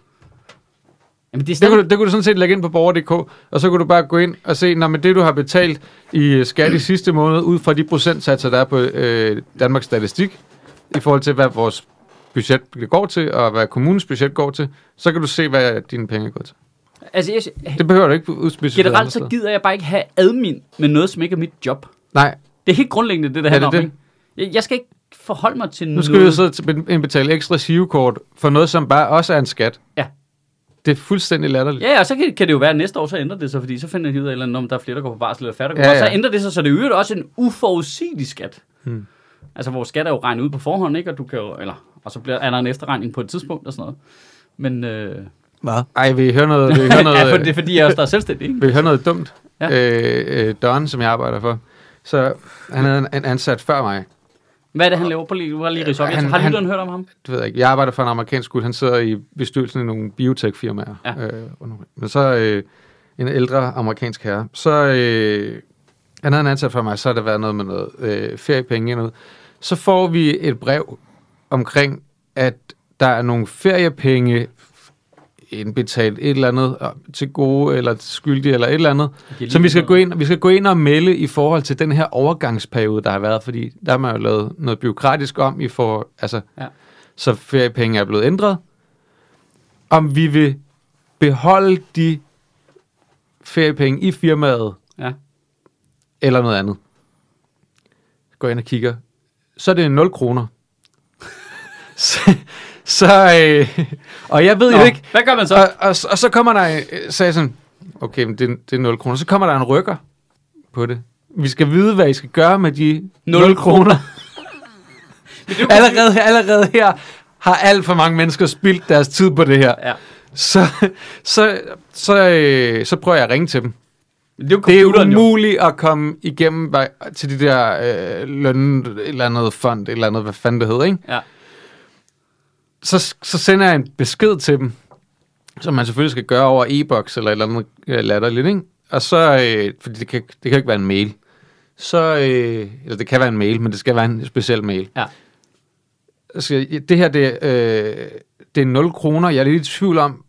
A: det er
C: Det
A: stadig...
C: Altså, kunne, du, det kunne du sådan set lægge ind på borger.dk, og så kunne du bare gå ind og se, når det du har betalt i øh, skat i sidste måned, ud fra de procentsatser, der er på øh, Danmarks Statistik, i forhold til, hvad vores budget går til, og hvad kommunens budget går til, så kan du se, hvad dine penge går til.
A: Altså, jeg,
C: Det behøver du ikke udspecificere. andre
A: generelt så
C: steder.
A: gider jeg bare ikke have admin med noget, som ikke er mit job.
C: Nej,
A: Det er helt grundlæggende, det der
C: Ja,
A: handler
C: det er
A: om. Ikke? Jeg, jeg skal ikke forholde mig til
C: nu skal vi
A: noget.
C: jo sidde til at betale ekstra sivekort for noget, som bare også er en skat.
A: Ja.
C: Det er fuldstændig latterligt.
A: Ja, og så kan, kan det jo være, at næste år så ændrer det sig, fordi så finder de ud af, et eller andet, om der er flere, der går på barsel eller færre, der går
C: Ja,
A: ja, ja. Og så
C: ja.
A: ændrer det sig, så det er jo også en uforudsigelig skat. Hmm. Altså, vores skat er jo regnet ud på forhånd, ikke? Og, du kan jo, eller, og så bliver, er der en efterregning på et tidspunkt og sådan noget. Men øh,
B: Hvad?
C: Ej, vil I høre noget, vil I høre noget,
A: [laughs] ja, for det er fordi, jeg også der er selvstændig, ikke?
C: vil I høre noget dumt?
A: Ja.
C: Ja. Øh, øh, Don, som jeg arbejder for, så han havde en, en ansat før mig. Hvad
A: Hvad er det, han laver? Prøv lige, prøv lige at ridse op. Jeg
C: Han-
A: tror, har
C: han-
A: lytteren hørt om ham?
C: Det ved jeg ikke. Jeg arbejder for en amerikansk skole. Han sidder i bestyrelsen i nogle biotech-firmaer.
A: Ja.
C: Øh, under- men så øh, en ældre amerikansk herre. Så øh, han havde en ansat for mig. Så har der været noget med noget øh, feriepenge eller noget. Så får vi et brev omkring, at der er nogle feriepenge indbetalt et eller andet øh, til gode eller skyldige eller et eller andet,
A: giver
C: som
A: lige
C: vi skal,
A: noget.
C: gå ind, vi skal gå ind og melde i forhold til den her overgangsperiode, der har været, fordi der har man jo lavet noget byråkratisk om, i for, altså,
A: Ja.
C: ja. så feriepenge er blevet ændret. Om vi vil beholde de feriepenge i firmaet,
A: Ja.
C: eller noget andet. Går ind og kigger. Så er det 0 kroner. [laughs] så, så øh, og jeg ved
A: Nå,
C: jo ikke,
A: hvad gør man så?
C: og, og, og så kommer der, øh, så er jeg sådan, okay, men det, er- det er 0 kroner. Så kommer der en rykker på det. Vi skal vide, hvad I skal gøre med de 0, 0 kroner. [laughs] allerede, allerede her har alt for mange mennesker spildt deres tid på det her.
A: Ja.
C: Så, så, så, øh, så prøver jeg at ringe til dem.
A: Men Det er jo
C: Det er
A: computeren jo.
C: umuligt at komme igennem vej- til de der øh, løn, et eller andet fond, et eller andet, hvad fanden det hedder, ikke?
A: Ja.
C: så, så sender jeg en besked til dem, som man selvfølgelig skal gøre over e-boks eller et eller andet øh, latterligt, ikke? Og så, øh, fordi det kan, det kan ikke være en mail, så, øh, eller det kan være en mail, men det skal være en speciel mail.
A: Ja.
C: Så jeg, Altså, det her, det, øh, det er 0 kroner, jeg er lidt i tvivl om,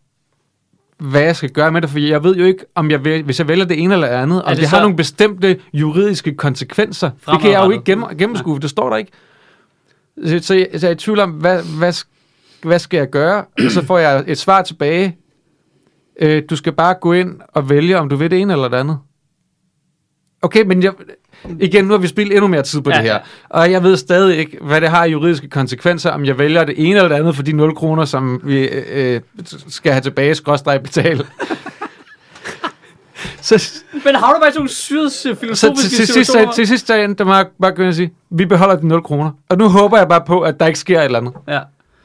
C: hvad jeg skal gøre med det, for jeg ved jo ikke, om jeg vælger, hvis jeg vælger det ene eller det andet, om
A: det
C: det, det har
A: så-
C: nogle bestemte juridiske konsekvenser. Det kan jeg jo
A: Fremadrettet.
C: ikke gennem, gennemskue, for det står der ikke. Så, så, jeg, så jeg er i tvivl om, hvad, hvad, sk- hvad skal jeg gøre? [clears throat] Og så får jeg et svar tilbage. Øh, du skal bare gå ind og vælge, om du vil det ene eller det andet. Okay, men jeg, igen, nu har vi spildt endnu mere tid på
A: Ja,
C: ja, det her.
A: ja.
C: Og jeg ved stadig ikke, hvad det har af juridiske konsekvenser, om jeg vælger det ene eller det andet for de 0 kroner, som vi øh, øh, skal have tilbage, skråstrej betale. så,
A: Men har du bare sådan nogle syrede øh,
C: så til,
A: filosofiske
C: til, sidst,
A: situationer?
C: så, til sidst sagde der må jeg bare gå ind og sige, vi beholder de 0 kroner. Og nu håber jeg bare på, at der ikke sker et eller andet.
A: Ja.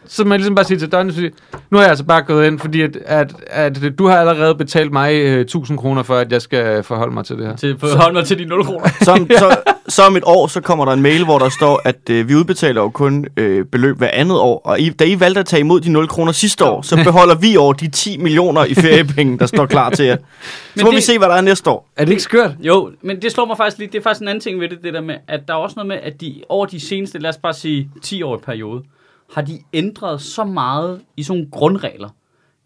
C: Så man ligesom bare siger til Donny, sige, nu er jeg altså bare gået ind, fordi at, at, at du har allerede betalt mig øh, 1000 kroner for, at jeg skal forholde mig til det her.
A: Til, hold mig til de 0 kroner. [laughs]
B: Så om, så, så om et år, så kommer der en mail, hvor der står, at øh, vi udbetaler jo kun øh, beløb hver andet år. Og I, da I valgte at tage imod de 0 kroner sidste år, så beholder vi i år de 10 millioner i feriepenge, der står
A: [laughs]
B: klar til jer. Så
A: Men
B: må
A: det-
B: vi se, hvad der er næste år.
C: Er det ikke skørt?
A: Jo, men det slår mig faktisk lige. Det er faktisk en anden ting ved det, det der med, at der er også noget med, at de over de seneste, lad os bare sige 10-årige periode, har de ændret så meget i sådan nogle grundregler.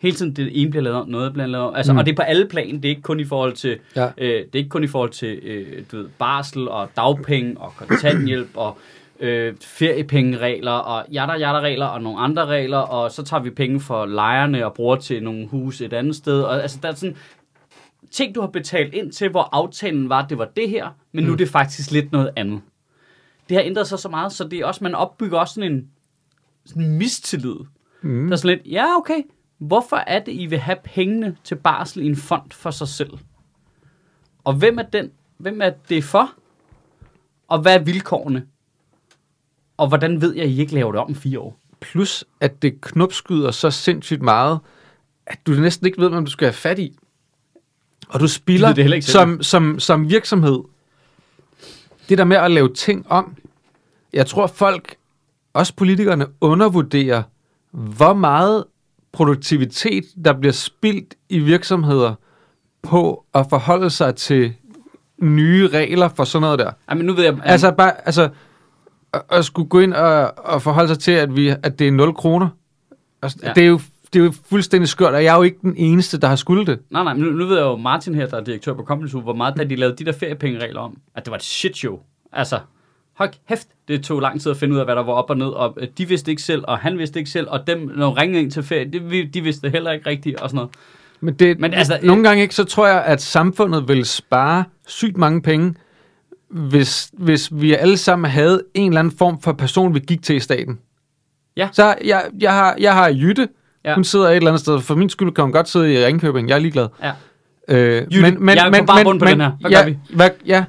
A: Hele tiden det ene bliver lavet om, noget bliver lavet om. Altså, mm. Og det er på alle plan. Det er ikke kun i forhold til, ja.
C: Ja.
A: øh, det er ikke kun i forhold til øh, du ved, barsel og dagpenge og kontanthjælp og øh, feriepengeregler og jatter jatter regler og nogle andre regler. Og så tager vi penge for lejerne og bruger til nogle hus et andet sted. Og, altså, der er sådan, ting, du har betalt ind til, hvor aftalen var, at det var det her, men nu er det faktisk lidt noget andet. Det har ændret sig så meget, så det er også, man opbygger også sådan en sådan en mistillid. Mm. Der er sådan lidt, ja okay, hvorfor er det, I vil have pengene til barsel i en fond for sig selv? Og hvem er den, hvem er det for? Og hvad er vilkårene? Og hvordan ved jeg, at I ikke laver det om om fire år?
C: Plus, at det knopskyder så sindssygt meget, at du næsten ikke ved, hvem du skal have fat i. Og du
A: De ved det heller
C: spilder
A: ikke selv.
C: som, som, som virksomhed. Det der med at lave ting om, jeg tror, folk, også politikerne, undervurderer, hvor meget produktivitet, der bliver spildt i virksomheder på at forholde sig til nye regler for sådan noget der.
A: Ej, men nu ved jeg...
C: Altså, bare, altså at, at skulle gå ind og, og forholde sig til, at, vi, at det er 0 kroner. Altså,
A: Ja.
C: ja. det, er jo, det er jo fuldstændig skørt, og jeg er jo ikke den eneste, der har skulle det.
A: Nej, nej, men nu, nu ved jeg jo Martin her, der er direktør på Company Zoo, hvor meget da de lavede de der feriepengeregler om, at det var et shit show. Altså, hold kæft, det tog lang tid at finde ud af, hvad der var op og ned, og øh, de vidste ikke selv, og han vidste ikke selv, og dem, når de ringede ind til ferie, det, vi- de vidste heller ikke rigtigt, og sådan noget.
C: Men, det,
A: Men
C: men
A: altså,
C: altså, nogle gange ikke, så tror jeg, at samfundet vil spare sygt mange penge, hvis, hvis vi alle sammen havde en eller anden form for person, vi gik til i staten.
A: Ja.
C: Så har- jeg, jeg, har, jeg har Jytte,
A: Ja.
C: ja. hun sidder et eller andet sted. For min skyld kan hun godt sidde i Ringkøbing, jeg er ligeglad.
A: Ja.
C: Øh,
A: Jytte, jeg er på bar bund på den her. Hvad
C: ja,
A: gør vi?
C: Hvad, ja.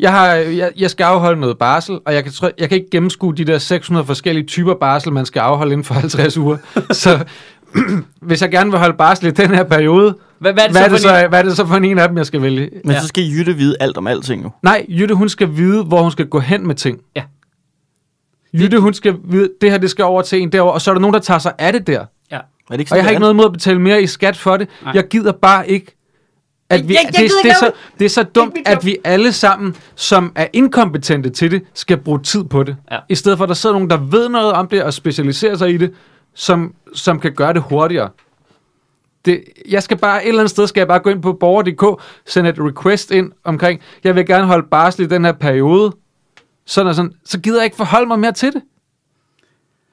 C: Jeg, har, jeg, jeg skal afholde noget barsel, og jeg kan, try- jeg kan ikke gennemskue de der 600 forskellige typer barsel, man skal afholde inden for 50
A: [laughs]
C: uger. så [clears throat] hvis jeg gerne vil holde barsel i den her periode,
A: Hvad, hvad er det
C: hvad, er det
A: så for en-
C: så, hvad er det så for en, en af dem, jeg skal vælge?
B: Men
A: Ja.
B: ja. så skal Jytte vide alt om alting jo.
C: Nej, Jytte, hun skal vide, hvor hun skal gå hen med ting.
A: Ja.
C: Jytte, hun skal vide, det her, det skal over til en derovre, og så er der nogen, der tager sig af det der.
A: Ja.
B: Er det ikke
C: Og jeg har
B: det
C: ikke
B: er?
C: noget imod at betale mere i skat for det.
A: Nej.
C: Nej. Jeg gider bare ikke. At vi,
D: Jeg- jeg
C: det,
D: gider ikke
C: det, er så,
D: lave
C: det er så dumt,
D: mit job.
C: at vi alle sammen, som er inkompetente til det, skal bruge tid på det.
A: Ja.
C: I stedet for, at der sidder nogen, der ved noget om det og specialiserer sig i det, som, som kan gøre det hurtigere. Det, jeg skal bare et eller andet sted, skal jeg bare gå ind på borger.dk, sende et request ind omkring, jeg vil gerne holde barsel i den her periode, sådan og sådan, så gider jeg ikke forholde mig mere til det.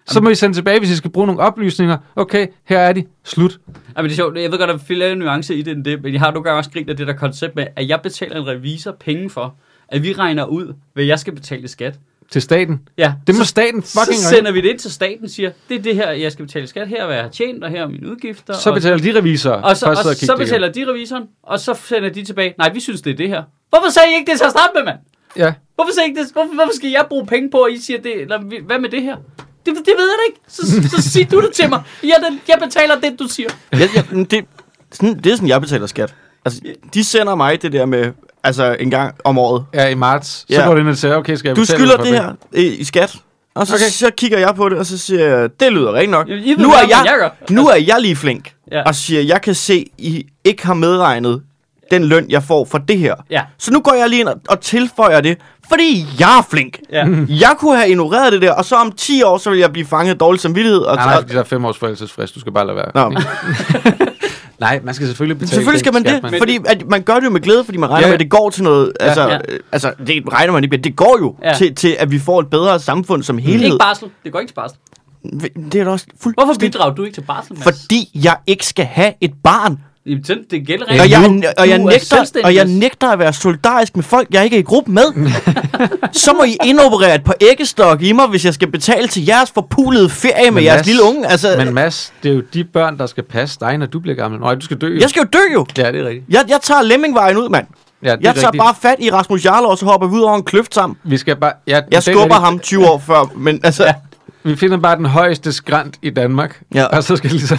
C: Så må I sende tilbage, hvis I skal bruge nogle oplysninger. Okay, her er de. Slut.
A: Ej, men det er sjovt. Jeg ved godt, der er flere nuancer i det end det, men jeg har nogle gange også grint af det der koncept med, at jeg betaler en revisor penge for, at vi regner ud, hvad jeg skal betale i skat.
C: Til staten.
A: Ja,
C: Det må
A: så-
C: staten fucking
A: Så
C: regne.
A: sender vi det ind til staten og siger, det er det her, jeg skal betale i skat. Her er, hvad jeg har tjent, og her er mine udgifter.
C: Så
A: og-
C: betaler de revisorer.
A: Og så, og
C: for at sidde
A: så
C: kigge det
A: betaler de revisoren, og så sender de tilbage. Nej, vi synes, det er det her. Hvorfor sagde I ikke det til at starte med, mand?
C: igennem. Ja.
A: Hvorfor, sagde I ikke det? Hvorfor, hvorfor skal jeg bruge penge på, at I siger det? Eller, vi- hvad med det her? Det, det ved jeg da ikke. Så, så sig du det til mig. Jeg, den, jeg betaler det, du siger.
B: Jeg, jeg, men det, sådan, det er sådan, jeg betaler skat. Altså, de sender mig det der med, altså en gang om året.
C: ja, i marts. Så
B: Ja.
C: går det ind og siger, okay, skal jeg
B: Du
C: betale
B: skylder
C: for
B: det her øh, i, i skat. Og så,
C: Okay.
B: okay. så kigger jeg på det, og så siger jeg, det lyder rent nok.
A: Jamen, I ved
B: nu,
A: mere,
B: er
A: end jeg
B: jeg,
A: gør.
B: nu er jeg lige flink.
A: Ja.
B: Ja. Og siger, jeg kan se, I ikke har medregnet den løn, jeg får for det her.
A: Ja.
B: Så nu går jeg lige ind og, og tilføjer det, fordi jeg er flink.
A: Ja.
B: Jeg kunne have ignoreret det der, og så om 10 år, så vil jeg blive fanget af dårlig samvittighed. Og,
C: Nej, nej,
B: og,
C: fordi der er fem års forældelsesfrist. Du skal bare lade være.
B: Nå,
C: Nej, man skal selvfølgelig betale.
B: selvfølgelig skal man
C: den
B: det,
C: skat,
B: fordi at man gør det jo med glæde, fordi man regner ja.
C: Ja.
B: med, at det går til noget. Altså,
A: ja.
B: ja. altså det regner man ikke med. Det går jo
A: Ja. Mm.
B: ja. til, til, at vi får et bedre samfund som helhed.
A: Ikke barsel. Det går ikke til barsel.
B: Det er da også fuldstændig...
A: Hvorfor bidrager du ikke til barsel, Mads?
B: Fordi jeg ikke skal have et barn.
A: Jamen, sådan- det gælder
B: Og
A: ikke.
B: jeg,
A: Du-
B: og, jeg
A: du er
B: nægter,
A: selvstændig,
B: og jeg
A: Mads.
B: nægter at være solidarisk med folk, jeg ikke er i
A: [laughs]
B: gruppe med. så må I indoperere et par æggestok i mig, hvis jeg skal betale til jeres forpulede ferie med
C: Men
B: jeres
C: Mads,
B: lille unge. Altså,
C: Men Mads, det er jo de børn, der skal passe dig, når du bliver gammel. Nej, du skal dø. jo.
B: jeg skal jo dø jo.
C: Ja, det er rigtigt.
B: Jeg, jeg tager lemmingvejen ud, mand.
C: Ja, det er
B: Jeg tager
C: rigtigt.
B: bare fat i Rasmus Jarlov, og så hopper vi ud over en kløft sammen.
C: Vi skal bare... Ja, det er
B: Jeg skubber
C: rigtigt.
B: ham 20 år før, men altså... Ja.
C: Vi finder bare den højeste skrant i Danmark.
B: Ja.
C: Og så skal jeg ligesom...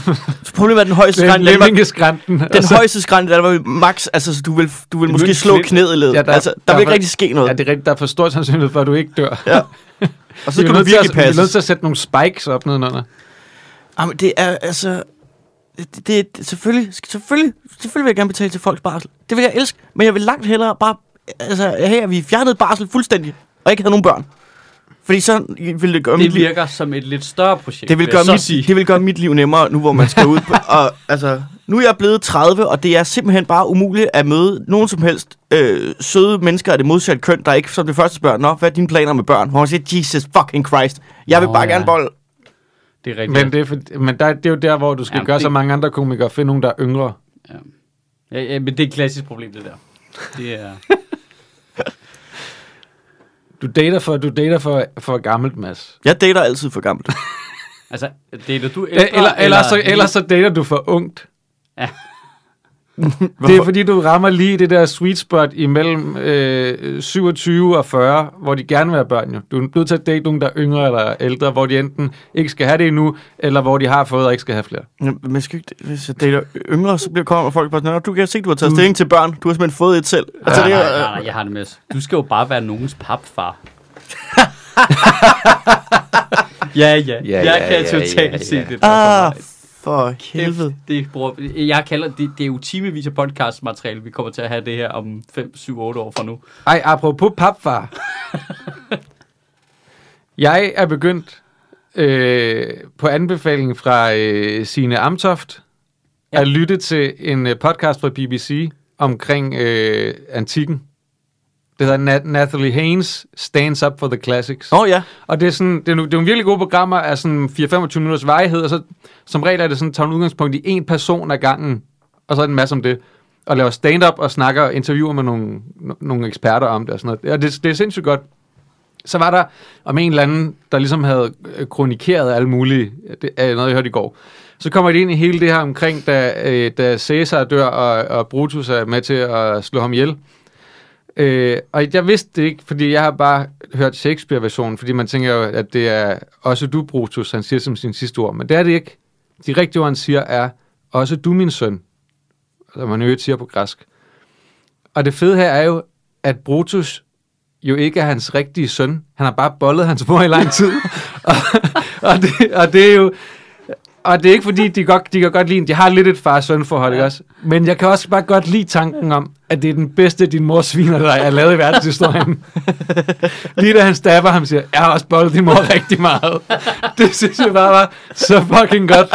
B: Problemet er den højeste
C: Det er altså-
B: skrænte. i Danmark.
C: lemmingeskranten. og
B: Den
C: så-
B: højeste skrænte, der var max, altså du vil, du vil måske
C: ville
B: slå
C: knæ-
B: knæet i ledet.
C: Ja,
B: der,
C: der-
B: altså, der,
C: der
B: vil ikke
C: var-
B: rigtig ske noget.
C: Ja, det er rigtigt. Der er for stor sandsynlighed for, at du ikke dør. [laughs]
B: Ja. Og så
C: Vi er
B: skal du
C: nødt til at-
B: virkelig
C: Vi er nødt
B: passe.
C: til at sætte nogle spikes op nedenunder.
B: Jamen, det er altså... Det, det, det, selvfølgelig, selvfølgelig, selvfølgelig vil jeg gerne betale til folks barsel. Det vil jeg elske, men jeg vil langt hellere bare... Altså, her er vi fjernet barsel fuldstændig, og ikke havde nogen børn. Fordi så ville det gøre mit
A: Det
B: liv...
A: virker som et lidt større projekt,
B: Det vil, gøre
A: jeg så
B: mit,
A: sige.
B: det vil gøre mit liv nemmere, nu hvor man skal ud. På, [laughs] og, altså, nu er jeg blevet 30, og det er simpelthen bare umuligt at møde nogen som helst øh, søde mennesker af det modsatte køn, der ikke som det første spørger, Nå, hvad er dine planer med børn? Hvor man siger, Jesus fucking Christ, jeg vil
A: Nå,
B: bare
A: ja.
B: gerne bolle.
A: Det er rigtigt.
C: Men, det er, for, men der, det er jo der, hvor du skal
A: Jamen,
C: Jamen, gøre
A: det-
C: det... så mange andre komikere, finde nogen, der er yngre.
A: Ja, ja, men det er et klassisk problem, det der. Det er...
C: Du dater for, du dater for, for gammelt, Mads.
B: Jeg dater altid for gammelt.
A: Altså, dater du ældre?
C: Eller, eller, eller, så, eller så dater du for ungt.
A: Ja.
C: [laughs] det er fordi, du rammer lige det der sweet spot imellem øh, 27 og 40, hvor de gerne vil have børn jo. Du er nødt til at date nogen, der er yngre eller ældre, hvor de enten ikke skal have det endnu, eller hvor de har fået og ikke skal have flere.
B: Jamen, Men skal ikke, hvis jeg dater yngre, så bliver kommer folk bare sådan, "Nå, du kan se, du har taget stilling til børn. Du har simpelthen fået et selv. Altså,
A: Nej,
B: det
A: nej,
B: er, [laughs]
A: nej, nej, jeg har det med. Du skal jo bare være nogens papfar. Ja, ja.
C: Ja,
A: jeg
C: ja,
A: kan
C: ja,
A: totalt
C: ja,
A: se
C: ja.
A: det. der for
B: Ah,
A: mig.
B: for helvede.
A: Kæft, Det, bruger, jeg kalder det, det er jo timevis af podcastmateriale, vi kommer til at have det her om 5, 7, 8 år fra nu.
C: Ej, apropos papfar. jeg er begyndt øh, på anbefaling fra øh, Sine Amtoft
A: Ja.
C: ja. at lytte til en øh, podcast fra BBC omkring øh, antikken. Det hedder Nat- Natalie Haynes Stands Up for the Classics.
B: Åh oh, ja.
C: Og det er, sådan, det, er nogle, det er nogle virkelig gode programmer af sådan 4-25 minutters varighed, og så som regel er det sådan, tager hun udgangspunkt i en person ad gangen, og så er det en masse om det, og laver stand-up og snakker og interviewer med nogle, no- nogle eksperter om det og sådan noget. Og det, det er sindssygt godt. Så var der om en eller anden, der ligesom havde øh, kronikeret alle mulige, det er noget, jeg hørte i går. Så kommer det ind i hele det her omkring, da, øh, da Caesar dør, og, og Brutus er med til at slå ham ihjel. Øh, og jeg vidste det ikke, fordi jeg har bare hørt Shakespeare-versionen, fordi man tænker jo, at det er også du, Brutus, han siger som sin sidste ord, men det er det ikke. De rigtige ord, han siger, er også du, min søn, som man jo siger på græsk. Og det fede her er jo, at Brutus jo ikke er hans rigtige søn. Han har bare bollet hans mor i lang tid. [laughs] og, og, det, og det er jo... Og det er ikke fordi, de, godt, de kan godt lide, de har lidt et far-søn-forhold, ikke også? Men jeg kan også bare godt lide tanken om, at det er den bedste, din mor sviner, der er lavet i verdenshistorien. [laughs] Lige da han stabber ham, siger, jeg har også boldet din mor rigtig meget. Det synes jeg bare var så fucking godt.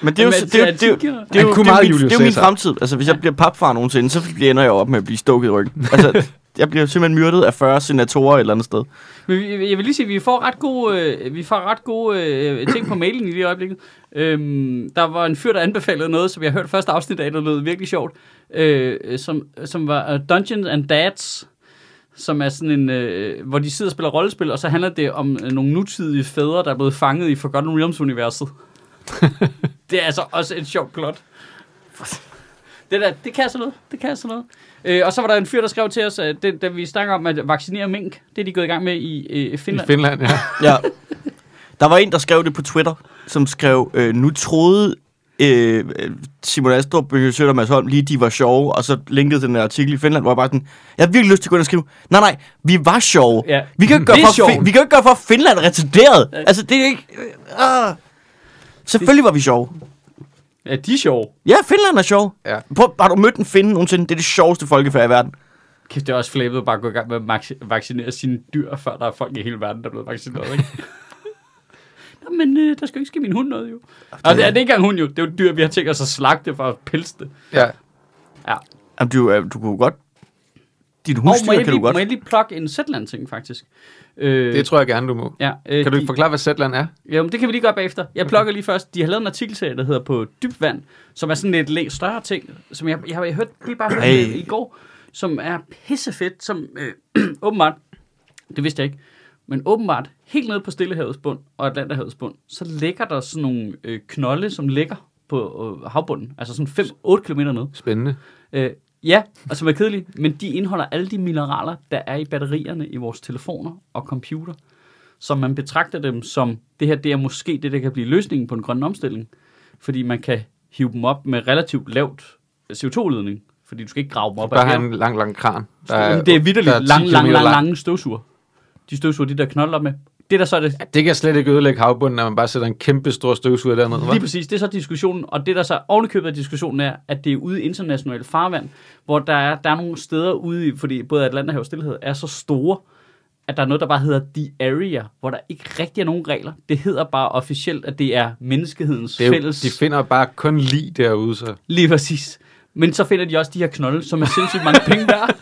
B: Men det er jo,
A: Men
B: det er jo, det er jo, det er jo, det er jo,
C: Han kunne
B: det er jo
C: meget
B: min,
C: Julius
B: det er jo min
C: Caesar.
B: fremtid. Altså, hvis jeg bliver papfar nogensinde, så ender jeg jo op med at blive stukket i ryggen. Altså, jeg bliver simpelthen myrdet af 40 senatorer et eller andet sted.
A: Men vi- jeg vil lige sige, at vi får ret gode, øh, vi får ret gode øh, ting på mailen i lige øjeblikket. Øhm, der var en fyr, der anbefalede noget, som jeg hørte første afsnit af, der lød virkelig sjovt, øh, som, som var øh, Dungeons and Dads, som er sådan en, øh, hvor de sidder og spiller rollespil, og så handler det om øh, nogle nutidige fædre, der er blevet fanget i Forgotten Realms-universet. det er altså også et sjovt plot. Det, der, det kan sådan noget. Det kan sådan noget. Øh, og så var der en fyr, der skrev til os, at det, da vi snakker om at vaccinere mink, det er de gået i gang med i øh,
C: I
A: Finland.
C: Finland, ja.
B: Ja. Der var en, der skrev det på Twitter, som skrev, øh, nu troede øh, Simon Astrup, Bøge Søtter og Mads Holm lige, de var sjove, og så linkede den der artikel i Finland, hvor jeg bare sådan, jeg har virkelig lyst til at gå ind og skrive, nej nej, vi var sjove.
A: Ja.
B: Vi kan jo ikke gøre,
A: Det er
B: for,
A: sjovt.
B: fi- vi kan jo ikke gøre for, at Finland er retarderet. Altså, det er ikke... Øh, øh. Selvfølgelig var vi sjove.
A: Ja, de er sjove.
B: Ja, Finland er sjov.
C: Ja.
B: Prøv, har du mødt en finde nogensinde? Det er det sjoveste folkefærd i verden.
A: Kæft, det er også flabet at bare gå i gang med at maxi- vaccinere sine dyr, før der er folk i hele verden, der er blevet vaccineret, ikke? [laughs] Nå, men øh, der skal jo ikke ske min hund noget, jo. Og Altså, det er, det er ikke engang hund, jo. Det er jo et dyr, vi har tænkt os at slagte for at pelse det.
C: ja.
A: Ja.
B: Jamen, du, øh, du kunne godt... Dit
A: Og må,
B: husdyr
A: jeg
B: kan du
A: lige,
B: godt.
A: må jeg lige plukke en Zetland-ting, faktisk? Øh,
C: Det tror jeg gerne, du må.
A: ja, øh,
C: Kan du
A: de-
C: ikke forklare, hvad Zetland er?
A: Jo, men det kan vi lige gøre bagefter. Jeg plukker lige først. De har lavet en artikelserie, der hedder På dybvand, som er sådan lidt læ- større ting, som jeg, jeg, jeg hørte lige bare hørte
B: Ej.
A: i går, som er pissefedt, som øh, [clears throat] åbenbart, det vidste jeg ikke, men åbenbart, helt nede på Stillehavets bund og Atlanterhavets bund, så ligger der sådan nogle øh, knolde, som ligger på øh, havbunden, altså sådan 5-8 km ned.
C: Spændende.
A: Øh, ja, og som er kedelige, men de indeholder alle de mineraler, der er i batterierne i vores telefoner og computer. Så man betragter dem som, det her det er måske det, der kan blive løsningen på den grønne omstilling. Fordi man kan hive dem op med relativt lavt CO2-ledning. Fordi du skal ikke grave dem op.
C: Bare
A: af
C: have
A: havet.
C: en lang, lang kran. Der
A: Jamen, det er
C: der
A: vidderligt
C: 10
A: lang, lang,
C: kilometer
A: lang, lange støvsuger. De støvsuger, de der knolder med. Det der så er det,
C: Det kan slet ikke ødelægge havbunden, når man bare sætter en kæmpe stor støvsuger dernede.
A: Lige
C: hva'?
A: præcis, det er så diskussionen, og det der så ovenikøbet af diskussionen er, at det er ude i internationalt farvand, hvor der er, der er nogle steder ude i, fordi både Atlanterhav og Stillehed er så store, at der er noget, der bare hedder The Area, hvor der ikke rigtig er nogen regler. Det hedder bare officielt, at det er menneskehedens
C: Det er jo,
A: fælles...
C: de finder bare kun lige derude, så.
A: Lige præcis. Men så finder de også de her knolde, som er sindssygt mange penge værd.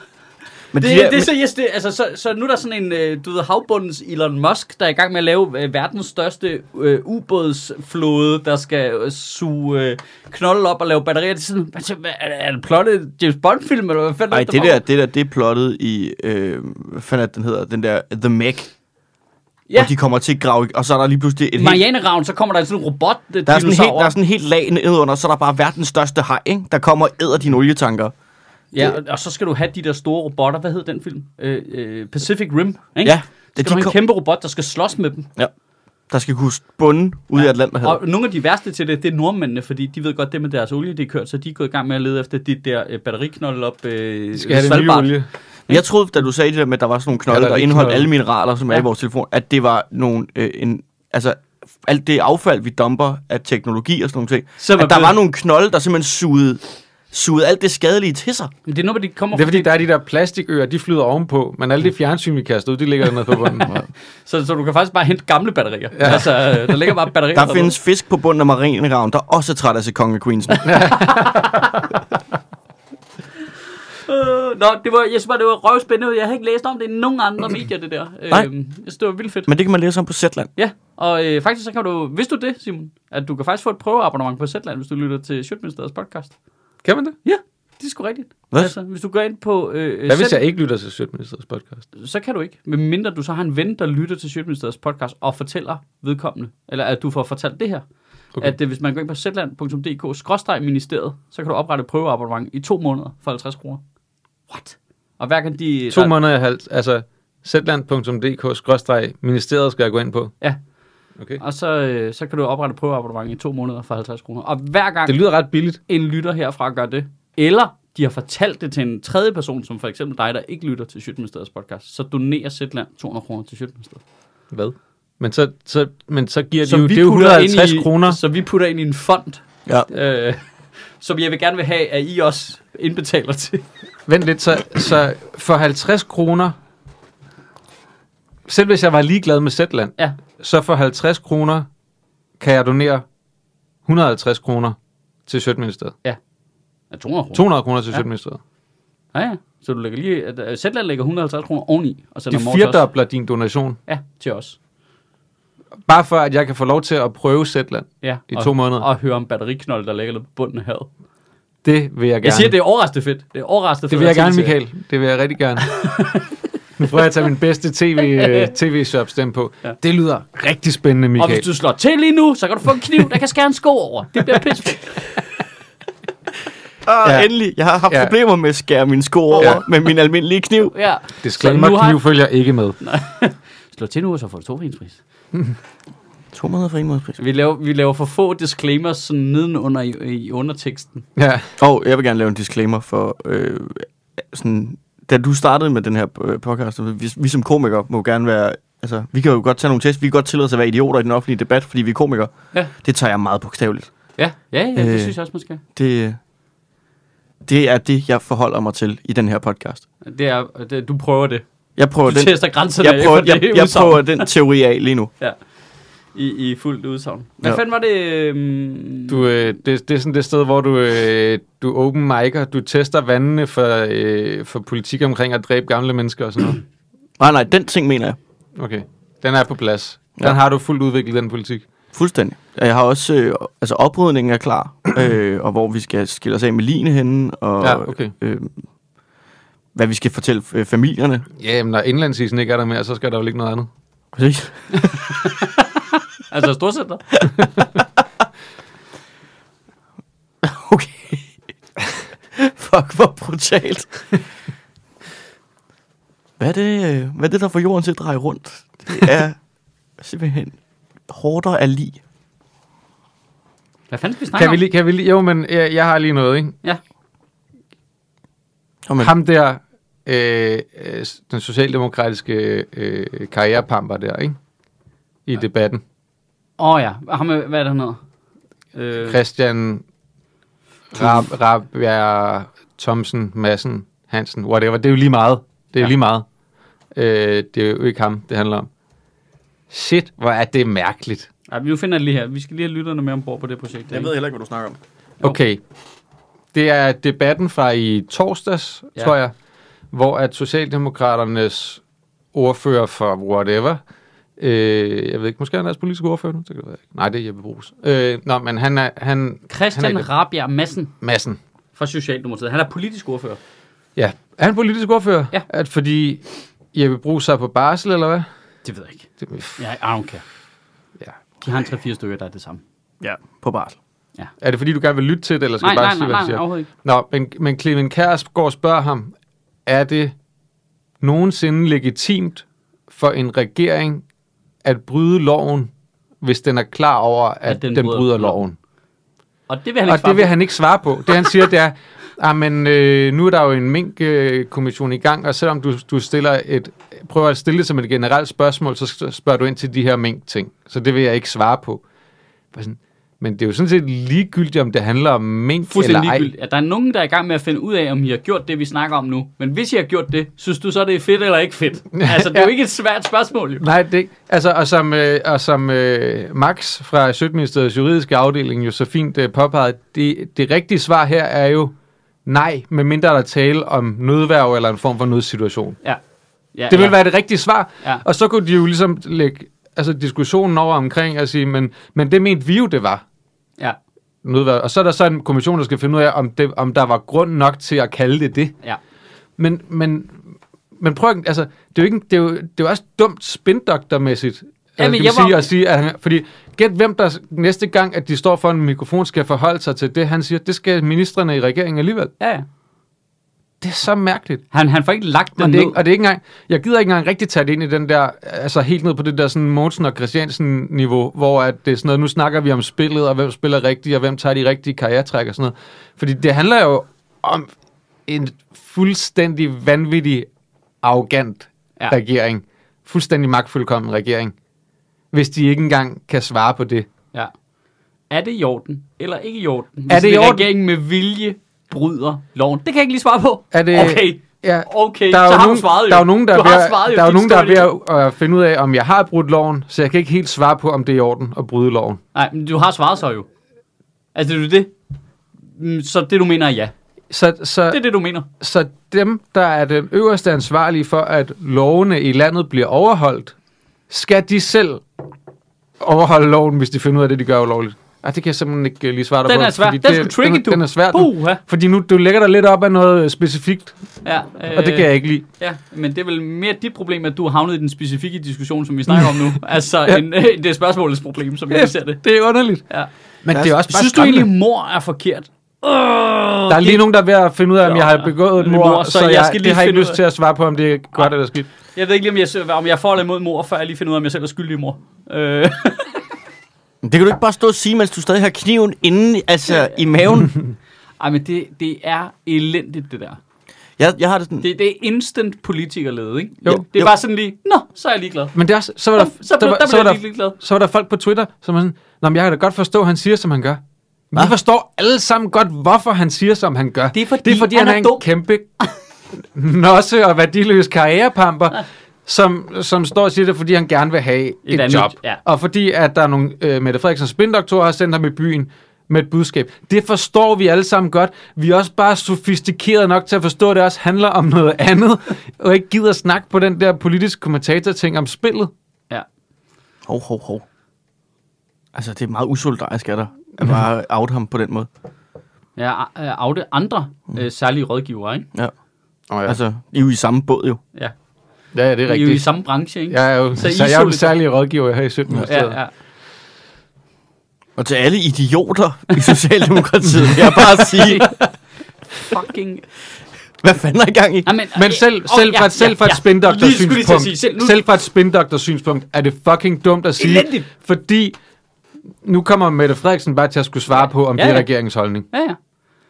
B: Men
A: Det,
B: de der-
A: det er seriøst, det, altså, så, så nu er der sådan en, øh, du ved, havbundens Elon Musk, der er i gang med at lave øh, verdens største øh, ubådsflåde, der skal øh, suge øh, knolde op og lave batterier. Det er sådan, hvad, hvad, er, er det plottet James Bond-film, eller hvad fanden er
B: Nej, det der, det der, det er plottet i, øh, hvad fanden er det, den hedder, den der The Meg. Ja.
A: Ja.
B: Hvor de kommer til at grave, i- og så er der lige pludselig et helt,
A: Marianeravn, så kommer der sådan en robot øh,
B: der er, sådan en helt,
A: dinosaur.
B: der er sådan en helt lag nedenunder, så er der bare verdens største haj, ikke? der kommer og æder dine olietanker.
A: Ja, og, og så skal du have de der store robotter. Hvad hed den film? Øh, øh, Pacific Rim, ikke?
B: Ja,
A: Det er
B: de
A: de en
B: kom-
A: kæmpe robot, der skal slås med dem.
B: Ja. Der skal kunne bunde ude ja. i Atlanterhavet.
A: Og nogle af de værste til det, det er nordmændene, fordi de ved godt, det med deres olie, det er kørt, så de er gået i gang med at lede efter dit der øh, batteriknold op øh,
C: De skal have det nye
A: Svalbard.
C: olie.
B: Men Jeg troede, da du sagde det der med, at der var sådan nogle knolde,
C: Ja,
B: ja,
C: der er
B: der, der
C: rigtig
B: indeholdt
C: knolde.
B: alle mineraler, som ja. er i vores telefon, at det var nogle, øh, en, altså alt det affald, vi dumper af teknologi og sådan nogle ting,
A: Som
B: som
A: er
B: at der
A: blevet-
B: var nogle knolde, der simpelthen sugede, sugede alt det skadelige til sig.
A: Men det er noget, de kommer
C: Det er fordi, der er de der plastikøer, de flyder ovenpå, men alle de fjernsyn, vi kaster ud, de ligger dernede på bunden.
A: Så, så du kan faktisk bare hente gamle batterier. Ja. Altså, øh, der ligger bare batterier.
B: Der findes fisk på bunden af marinegraven, der også er træt af sig kongen af Queens.
A: Øh, nå, det var, jeg synes bare, det var røvspændende. Jeg havde ikke læst om det i nogen
B: [clears throat]
A: andre medier, det der. Øh,
B: Nej.
A: jeg synes, det var vildt fedt.
B: Men det kan man læse om på Zetland.
A: Ja, og øh, faktisk så kan du, hvis du det, Simon, at du kan faktisk få et prøveabonnement på Zetland, hvis du lytter til Sjøtministeriets podcast.
C: Kan man det?
A: Ja, det er sgu rigtigt.
B: Hvad?
A: Altså, hvis du går ind på øh,
C: Hvad hvis
A: Zetland,
C: jeg ikke lytter til Sjøtministeriets podcast?
A: så kan du ikke. Medmindre du så har en ven, der lytter til Sjøtministeriets podcast og fortæller vedkommende, eller at du får fortalt det her. Okay.
C: Okay.
A: At øh, hvis man går ind på zetland.dk-ministeriet, så kan du oprette et prøveabonnement i to måneder for 50 kroner. What? Og hver gang de...
C: To
A: der-
C: måneder i halvt, altså zland.dk-ministeriet skal jeg gå ind på.
A: Ja,
C: Okay.
A: og så, øh, så kan du oprette et prøveabonnement i to måneder for 50 kroner. Og hver gang...
C: Det lyder ret billigt.
A: en lytter herfra gør det, eller de har fortalt det til en tredje person, som for eksempel dig, der ikke lytter til Sjøtministeriets podcast, så donerer Zetland 200 kroner til Sjøtministeriet.
C: Hvad? Men så, så, men så giver de jo, det er jo 150
A: i,
C: kroner.
A: Så vi putter ind i en fond,
B: Ja.
A: øh, som jeg vil gerne vil have, at I også indbetaler til.
C: Vent lidt, så, så for 50 kroner, selv hvis jeg var ligeglad med Zetland,
A: Ja,
C: så for 50 kroner kan jeg donere 150 kroner til Sjøtministeriet.
A: ja 200 kroner.
C: 200 kroner til
A: Ja.
C: Sjøtministeriet.
A: Ja, ja. Så du lægger lige, at, øh, Zetland lægger 150 kroner oveni, og sender
C: De
A: dem over til os.
C: firedobler din donation,
A: Ja, til os.
C: bare for at jeg kan få lov til at prøve Zetland.
A: Ja,
C: I
A: og,
C: to måneder.
A: Og høre om batteriknolde, der ligger lidt på bunden af havet.
C: Det vil jeg gerne.
A: Jeg siger, det er overraskende fedt. Det er overraskende
C: det
A: fedt.
C: vil jeg
A: at
C: gerne,
A: tænke til.
C: Michael. Det vil jeg rigtig
A: [laughs]
C: gerne. nu prøver jeg at tage min bedste tv, øh, tv-shop stemme på.
A: Ja.
C: Det lyder rigtig spændende,
A: Og hvis
C: Michael.
A: du slår til lige nu, så kan du få en kniv, der kan skære en sko over. Det bliver
C: [laughs]
A: pissefedt.
B: Ah,
C: Ja.
B: ja. endelig. Jeg har haft
C: Ja.
B: ja. problemer med at skære mine sko over
C: Ja.
B: ja. med min almindelige kniv.
A: Ja.
C: Disclaimer,
A: Så nu har-
C: kniv følger ikke med.
A: Slå til nu, og så får du to pris.
B: 200 for en måneds pris.
A: Vi laver, vi laver for få disclaimers sådan nedenunder i, i underteksten.
C: Ja.
B: Og oh, jeg vil gerne lave en disclaimer for, øh, sådan, da du startede med den her øh, podcast, så vi, vi som komikere må gerne være, altså, vi kan jo godt tage nogle test, vi kan godt tillade os at være idioter i den offentlige debat, fordi vi er komikere.
A: Ja.
B: Det tager jeg meget bogstaveligt.
A: Ja, ja, ja det øh.
B: Øh.
A: synes jeg også, man skal.
B: Det, det er det, jeg forholder mig til i den her podcast.
A: Det er, det, du prøver det.
B: Jeg prøver,
A: Du
B: den,
A: tester grænserne
B: jeg prøver,
A: efter
B: jeg,
A: det
B: jeg
A: udsagn.
B: prøver den teori af lige nu.
A: Ja. I, I fuldt udsagn. Hvad
B: Ja.
A: fanden var det? øhm,
C: Du, øh, det, det er sådan det sted, hvor du, øh, du open mic'er, du tester vandene for, øh, for politik omkring at dræbe gamle mennesker og sådan noget.
B: Nej, nej, den ting mener jeg.
C: Okay, den er på plads. Den
B: Ja.
C: har du fuldt udviklet, den politik.
B: Fuldstændig. Og Jeg har også, øh, altså oprydningen er klar, [clears throat] øh, og hvor vi skal skille os af med Line henne, og
C: Ja, okay.
B: øh, hvad vi skal fortælle øh, familierne.
C: Ja, jamen, når indlandsisen ikke er der mere, så skal der jo ligge noget andet.
B: Præcis.
A: Altså storcenter?
B: Okay. [laughs] Fuck, hvor brutalt. Hvad er, det, øh, hvad er det, der får jorden til at dreje rundt? Det [laughs] er simpelthen hårdere af lig.
A: Hvad fanden skal vi snakke
C: Kan vi, lige, kan vi lige, jo, men jeg, jeg har lige noget, ikke?
A: om? Ja.
B: Nå, men,
C: Ham der, øh, øh, den socialdemokratiske øh, karrierepamper der, ikke? I debatten.
A: Åh oh, ja, ham, er- hvad er det, han hedder? Øh,
C: Christian Rab, Rab, ja, Thomsen, Madsen, Hansen, whatever. Det er jo lige meget. Det er jo
A: Ja.
C: lige meget. Øh, det er jo ikke ham, det handler om. Shit, hvor er det mærkeligt.
A: Ej, nu finder jeg det lige her. Vi skal lige have lytterne med ombord på det projekt. ikke?
B: heller ikke, hvad du snakker om.
A: Jo.
C: Okay. Det er debatten fra i torsdags,
A: Ja.
C: ja. tror jeg, hvor at Socialdemokraternes ordfører for whatever, øh, jeg ved ikke, måske han er deres politiske ordfører nu, det kan det være ikke. Nej, det er Jeppe Brugs. Øh, nå, men han er... Han, han er
A: Christian
C: ikke-
A: Rabjerg Madsen
C: Madsen.
A: fra Socialdemokratiet. Han er politisk ordfører.
C: Ja. Er han politisk ordfører?
A: Ja.
C: At fordi Jeppe Brugs er på barsel, eller hvad?
A: Det ved jeg ikke.
C: Det, pff,
A: Jeg er okay.
C: ja.
A: De har en 3-4 stykker, der er det samme.
B: Ja, på barsel.
C: Er det fordi, du gerne vil lytte til det, eller skal
A: Nej,
C: jeg bare
A: nej,
C: sige,
A: nej,
C: hvad han
A: nej,
C: siger?
A: overhovedet ikke.
C: Nå, men, men Clemen Kærsgaard spørger ham, er det nogensinde legitimt for en regering at bryde loven, hvis den er klar over, at, at den, den bryder, bryder loven?
A: Og det vil han ikke
C: Og
A: svare
C: det vil
A: på.
C: han ikke svare på. Det han siger, det er, Ah, men øh, nu er der jo en minkkommission i gang, og selvom du, du stiller et, prøver at stille det som et generelt spørgsmål, så spørger du ind til de her mink-ting. Så det vil jeg ikke svare på. Bare sådan, Men det er jo sådan set ligegyldigt, om det handler om mink eller
A: Fuldstændig
C: ej.
A: ligegyldigt. Ja, der er nogen, der er i gang med at finde ud af, om I har gjort det, vi snakker om nu. Men hvis I har gjort det, synes du så, det er fedt eller ikke fedt? Altså, det er jo
C: [laughs] Ja.
A: ikke et svært spørgsmål, jo.
C: Nej, det er ikke. Altså, og som, øh, og som øh, Max fra Sødministeriets juridiske afdeling jo så fint øh, påpegede, det, det rigtige svar her er jo nej, medmindre der er tale om nødværv eller en form for nødsituation.
A: Ja. ja
C: Det vil
A: ja.
C: være det rigtige svar.
A: Ja.
C: Og så kunne de jo ligesom lægge altså, diskussionen over omkring og sige, men, men det mente vi jo, det var.
A: Ja,
C: Nødværv. Og så er der så en kommission, der skal finde ud af, om, det, om der var grund nok til at kalde det det.
A: ja.
C: Men, men, men prøv at- altså, det er jo, ikke, det er jo, det er jo også dumt spindoktermæssigt,
A: Ja,
C: ja,
A: men
C: men
A: jeg
C: sige,
A: var-
C: at sige, at han, fordi gæt hvem der s- næste gang, at de står for en mikrofon, skal forholde sig til det, han siger, det skal ministerne i regeringen alligevel.
A: ja, ja.
C: Det er så mærkeligt.
A: Han, han får ikke lagt
C: Og
A: den
C: det,
A: ned.
C: er ikke, og det er ikke engang, jeg gider ikke engang rigtig tage det ind i den der, altså helt ned på det der sådan Mogensen og Christiansen niveau, hvor at det er sådan noget, nu snakker vi om spillet, og hvem spiller rigtigt, og hvem tager de rigtige karrieretræk og sådan noget. Fordi det handler jo om en fuldstændig vanvittig, arrogant
A: Ja.
C: ja. regering. Fuldstændig magtfuldkommen regering. Hvis de ikke engang kan svare på det.
A: Ja. Er det i orden, eller ikke i orden?
C: Er det i orden?
A: regeringen med vilje bryder loven? Det kan jeg ikke lige svare på.
C: Er det-
A: Okay,
C: Ja,
A: okay.
C: der er
A: så
C: jo
A: har
C: nogen,
A: du svaret jo.
C: Der er jo nogen, der
A: du
C: er ved,
A: har
C: at-
A: svaret jo.
C: der er jo
A: Din
C: nogen, der
A: historie-
C: er ved at, at finde ud af, om jeg har brudt loven, så jeg kan ikke helt svare på, om det er i orden at bryde loven.
A: Nej, men du har svaret så jo. Altså, det er jo det. Mm, Så det, du mener, er ja.
C: Så, så,
A: Det er det, du mener.
C: Så dem, der er den øverste ansvarlige for, at lovene i landet bliver overholdt, skal de selv overholde loven, hvis de finder ud af det, de gør ulovligt? Ej, det kan jeg simpelthen ikke øh, lige svare dig
A: Den
C: på.
A: er svær.
C: fordi
A: Den er sgu tricky,
C: den,
A: du.
C: Den er svær. den.
A: Puha.
C: Fordi nu, du lægger dig lidt op af noget øh, specifikt,
A: Ja,
C: øh. og det kan jeg ikke lide.
A: Ja, men det er vel mere dit problem, at du har havnet i den specifikke diskussion, som vi snakker
C: [laughs]
A: om nu. Altså, ja. en, det er spørgsmålets problem, som jeg ser det.
C: det er underligt.
A: Ja.
C: Men det er også bare
A: Synes du
C: skræmmende.
A: egentlig, mor er forkert? Øh,
C: der er lige nogen, der er ved at finde ud af, om jeg har begået et
A: Lidt mor,
C: mord,
A: så
C: så, så
A: jeg
C: jeg,
A: skal
C: jeg
A: lige
C: det har jeg ikke
A: finde ud
C: lyst
A: af-
C: til at svare på, om det er godt eller skidt.
A: Jeg ved ikke lige, om jeg, om jeg er for eller imod mor, før jeg lige finder ud af, om jeg selv er skyldig i mor.
C: [laughs]
A: Øh,
B: Men Det kan du ikke bare stå og sige, mens du stadig har kniven inde altså, i [laughs] maven.
A: ej, men det, det er elendigt, det der.
B: Jeg, jeg har det sådan...
A: Det, det er instant politikerlede, ikke?
C: Jo.
A: Det er
B: Jo.
A: bare sådan lige, nå, så er jeg ligeglad.
C: Men det er også, så var der,
A: Så blev,
C: var-
A: der
C: så var
A: blev jeg lige ligeglad.
C: så var der folk på Twitter, som var sådan, Nå, men jeg kan da godt forstå, at han siger, som han gør. Vi
B: Hva?
C: forstår alle sammen godt, hvorfor han siger, som han gør.
A: Det er fordi,
C: det er, fordi
A: han
C: han,
A: er
C: er en
A: dum.
C: kæmpe nosse og værdiløs karrierepamper, som, som står og siger det, fordi han gerne vil have et, et
A: andet-
C: job.
A: ja.
C: Og fordi, at der er nogle øh, Mette Frederiksens spindoktorer har sendt ham i byen med et budskab. Det forstår vi alle sammen godt. Vi er også bare sofistikerede nok til at forstå, at det også handler om noget andet, og ikke gider snakke på den der politiske kommentator-ting om spillet.
A: Ja.
B: Hov, hov, hov. Altså, det er meget usolidarisk af dig
A: [laughs]
B: at bare out ham på den måde.
A: Ja, af andre
C: Mm.
A: øh, særlige rådgiver, ikke?
B: Ja.
C: Oh, ja.
B: Altså, I er jo i samme båd jo.
A: Ja.
C: Ja, ja, det
A: I
C: er
A: er jo i
C: rigtigt.
A: samme branche, ikke?
C: Jeg er jo,
A: Så
C: så,
A: I
C: så jeg er jo
A: solidar-
C: den særlige rådgiver her i 17.
A: ja, ja.
B: Og til alle idioter i Socialdemokratiet, vil jeg bare
A: [laughs]
B: sige,
A: Fucking...
B: hvad fanden er i gang i?
A: Ja, men,
C: Men selv, selv, fra, selv fra et
A: Lige skulle lige til at sige,
C: spindokters
A: selv nu-
C: synspunkt, selv fra et spindokters synspunkt, er det fucking dumt at sige,
A: Elendigt.
C: fordi nu kommer Mette Frederiksen bare til at skulle svare på, om
A: Ja,
C: det er
A: ja.
C: regeringens holdning.
A: Ja, ja.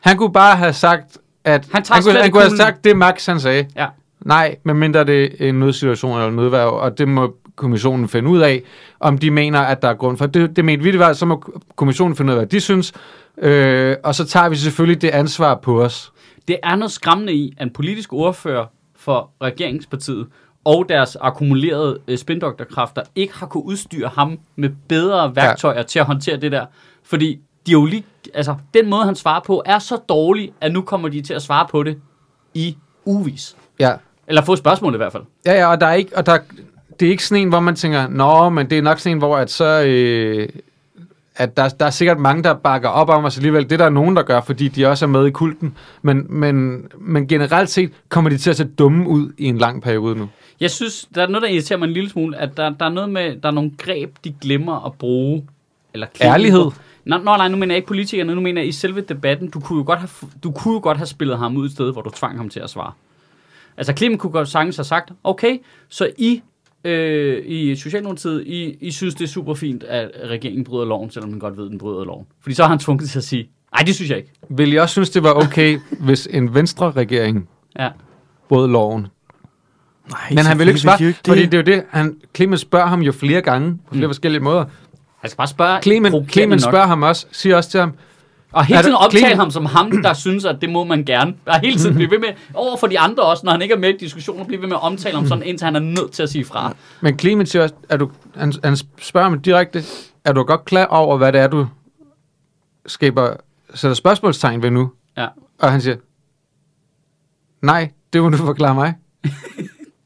C: Han kunne bare have sagt, at
A: Han
C: han,
A: tager
C: han, kunne,
A: slet
C: han
A: ikke
C: kunne have
A: kuglen.
C: sagt det, Max han sagde.
A: ja.
C: Nej, medmindre det er en nødsituation eller en nødværv, og det må kommissionen finde ud af, om de mener, at der er grund for. Det, det mente vi, det var, så må kommissionen finde ud af, hvad de synes, øh, og så tager vi selvfølgelig det ansvar på os.
A: Det er noget skræmmende i, at en politisk ordfører for regeringspartiet og deres akkumulerede øh, spindokterkræfter ikke har kunnet udstyre ham med bedre værktøjer ja. til at håndtere det der. Fordi de er jo lige, altså, den måde, han svarer på, er så dårlig, at nu kommer de til at svare på det i uvis.
C: Ja,
A: Eller få spørgsmålet i hvert fald.
C: ja, ja og, der er ikke, og der, det er ikke sådan en, hvor man tænker, nå, men det er nok sådan en, hvor at så... Øh, at der, der er sikkert mange, der bakker op om os alligevel. Det er der nogen, der gør, fordi de også er med i kulten. Men, men, men generelt set kommer de til at se dumme ud i en lang periode nu.
A: Jeg synes, der er noget, der irriterer mig en lille smule, at der, der er noget med, der er nogle greb, de glemmer at bruge. Eller klemme
C: Ærlighed.
A: på. Nå, nå, nej, nu mener jeg ikke politikerne, nu mener jeg i selve debatten. Du kunne, jo godt have, du kunne jo godt have spillet ham ud et sted, hvor du tvang ham til at svare. Altså, Clemen kunne godt sagtens have sagt, okay, så I øh, i Socialdemokratiet, I, I synes, det er super fint, at regeringen bryder loven, selvom man godt ved, den bryder loven. Fordi så har han tvunget til at sige, Nej, det synes jeg ikke.
C: Vil I også synes, det var okay, hvis en venstre regering
A: Ja.
C: brød loven?
B: Nej,
C: Men han vil ikke svare,
B: selvfølgelig
C: det.
B: vil de
C: fordi
B: jo
C: det er jo det, han, Clemens spørger ham jo flere gange, på flere mm. forskellige måder.
A: Han skal bare spørge.
C: Clemens,
A: provokerende
C: Clemens
A: nok.
C: spørger ham også, siger også til ham,
A: Og
C: Er
A: hele tiden
C: der-
A: optale
C: Clemens-
A: ham som ham, der synes, at det må man gerne. Og hele tiden blive ved med, over for de andre også, når han ikke er med i diskussioner, blive ved med at omtale ham sådan, indtil han er nødt til at sige fra.
C: men Clemens siger også, er du, han, han spørger ham direkte, er du godt klar over, hvad det er, du skaber, sætter spørgsmålstegn ved nu?
A: Ja.
C: Og han siger, nej, det må du forklare mig.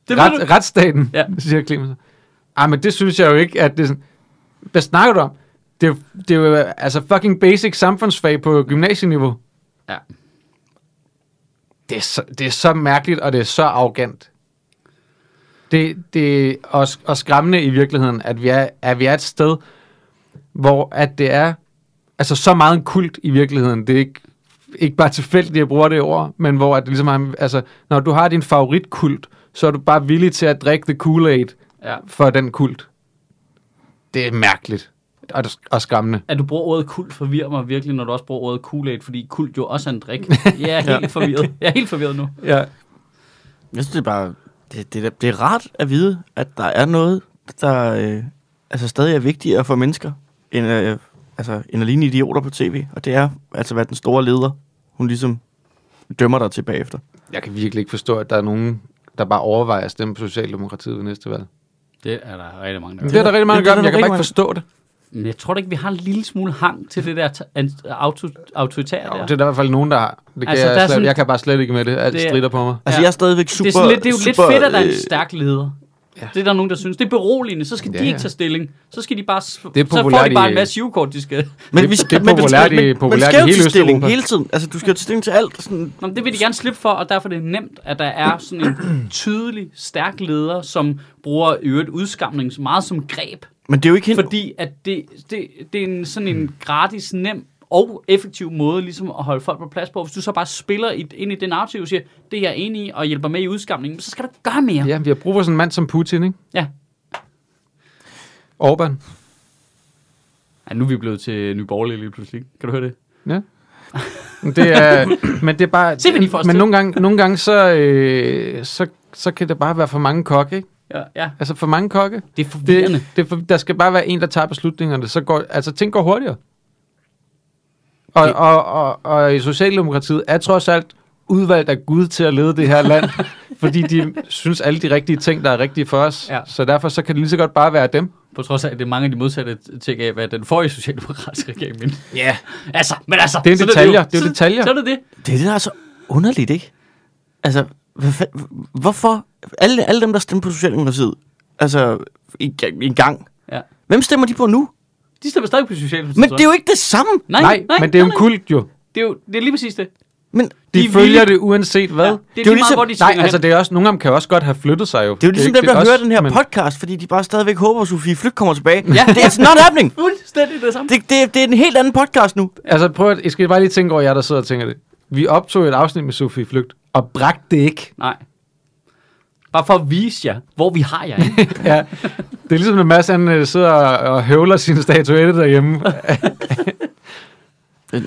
A: Det ved
C: Ret, retsstaten, ja.
A: Ja.
C: siger Clemens. Ej, men det synes jeg jo ikke, at det er sådan... Hvad snakker du om? Det er, jo- det er jo altså fucking basic samfundsfag på gymnasieniveau.
A: Ja.
C: Det er så, det er så mærkeligt, og det er så arrogant. Det, det er også, og skræmmende i virkeligheden, at vi, er, at vi er et sted, hvor at det er altså så meget en kult i virkeligheden. Det er ikke, ikke bare tilfældigt, at jeg bruger det ord, men hvor at det ligesom er, altså, når du har din favoritkult, så er du bare villig til at drikke the Kool-Aid
A: Ja.
C: for den kult. Det er mærkeligt og, og skræmmende.
A: At du bruger ordet kult forvirrer mig virkelig, når du også bruger ordet kool fordi kult jo også er en drik. [laughs] Jeg er helt forvirret. [laughs] Jeg er helt forvirret nu.
C: Ja.
B: ikke- Jeg synes, det er bare... Det, det, er- det er rart at vide, at der er noget, der øh, altså stadig er vigtigere for mennesker, end, øh, altså, end at ligne idioter på tv. Og det er, altså, hvad den store leder, hun ligesom dømmer dig til bagefter.
C: Jeg kan virkelig ikke forstå, at der er nogen, der bare overvejer at stemme på Socialdemokratiet ved næste valg.
A: Det er der rigtig mange,
C: Det er der rigtig mange, der
B: Ja,
C: gør,
B: det er
C: men
B: der
C: jeg kan bare
B: rigtig
C: ikke forstå det.
A: Men jeg tror da ikke, vi har en lille smule hang til det der ta- an- auto, autoritære
C: Jo,
A: der.
C: det er der i hvert fald nogen, der har. Det kan
A: Altså,
C: altså,
A: der er
C: jeg, slet,
A: sådan-
C: jeg kan bare slet ikke med det. Alt
A: Det
C: det,
A: er-
C: strider på mig.
B: Altså,
A: Ja.
B: jeg er stadigvæk super...
A: det er, sådan lidt, det er jo
B: super,
A: lidt fedt, at der er en
B: øh,
A: stærk leder.
C: Ja.
A: Det er der nogen, der synes. Det er beroligende. Så skal ja,
C: Ja,
A: de ikke
C: ja.
A: tage stilling. Så, skal de bare, s-
C: Det er
A: så får
C: populært
A: de bare
C: i- øh,
A: en masse jivekort, de skal...
B: Men
C: Det- det er populært i- populært i
B: jo
C: hele
B: til stilling
C: Østeuropa.
B: hele tiden. Altså, du skal jo til stilling til alt. Sådan,
A: Nå, men det vil de gerne slippe for, og derfor er det nemt, at der er sådan
C: [clears throat]
A: en tydelig, stærk leder, som bruger i øvrigt udskamning så meget som greb.
B: men det er jo ikke... Hende,
A: Fordi at det, det, det er en, sådan
C: Mm.
A: en gratis, nem og effektiv måde ligesom at holde folk på plads på. Hvis du så bare spiller i, ind i den narrativ og siger, det er jeg enig i, og hjælper med i udskamningen, så skal du ikke gøre mere. Ja.
C: Ja, vi har brug for sådan en mand som Putin, ikke?
A: ja.
C: Orbán.
A: ja nu er vi blevet til Nyborgerlige lige pludselig. Kan du høre det?
C: Ja. Men Det
A: [laughs]
C: er, men det er bare...
A: Se, hvad de får os
C: men
A: til.
C: nogle gange, nogle gange så, øh, så, så kan der bare være for mange kokke, ikke?
A: Ja, ja.
C: Altså for mange kokke.
A: det er forvirrende.
C: Det, det, er for, der skal bare være en, der tager beslutningerne. Så går, altså, ting går hurtigere. Og, og, og, og i Socialdemokratiet er trods alt udvalgt af Gud til at lede det her
A: [laughs]
C: land, fordi de synes alle de rigtige ting, der er rigtige for os.
A: Ja.
C: Så derfor så kan det lige så godt bare være dem.
A: På trods af, at det er mange af de modsatte ting af, hvad den forrige socialdemokratiske regering mente.
B: ja. Yeah.
A: Altså, men altså.
C: Det er
A: sådan
C: detaljer,
A: jo.
C: det er jo
A: Så-
C: detaljer.
A: Så er det det.
B: Det er det, der er så underligt, ikke? Altså, hvad fa- hvorfor? Alle, alle dem, der stemte på Socialdemokratiet, altså, i, i gang.
A: Ja.
B: Hvem stemmer de på nu?
A: De stemmer stadig på Socialdemokratiet.
B: Men det er jo ikke det samme.
A: Nej, nej, nej
C: men det er jo
A: nej,
C: en kult jo.
A: Det er jo det er lige præcis det.
B: Men
C: De,
A: De er
C: de følger
A: vilde.
C: det uanset hvad.
A: Ja,
C: Ja.
A: det er lige
B: jo
A: meget,
B: ligesom-
A: hvor de svinger
C: Nej,
A: hen.
C: altså det er også, nogle af dem kan også godt have flyttet sig jo.
B: det er jo ligesom
C: ikke-
B: dem, der
C: det er
B: hører
C: også-
B: den her
C: men-
B: podcast, fordi de bare stadigvæk håber, at Sofie Flygt kommer tilbage.
A: Ja.
B: Det er altså not happening.
A: Fuldstændig det samme.
B: Det, det, det er en helt anden podcast nu.
C: Altså prøv at, I skal bare lige tænke over jer, der sidder og tænker det. Vi optog et afsnit med Sofie Flygt, og bragte det ikke.
A: Nej. Bare for at vise jer, hvor vi har jer.
C: [laughs]
A: ikke?
C: ja, det er ligesom, når Mads han, øh, sidder og og høvler sin statuette
A: [laughs]
C: derhjemme.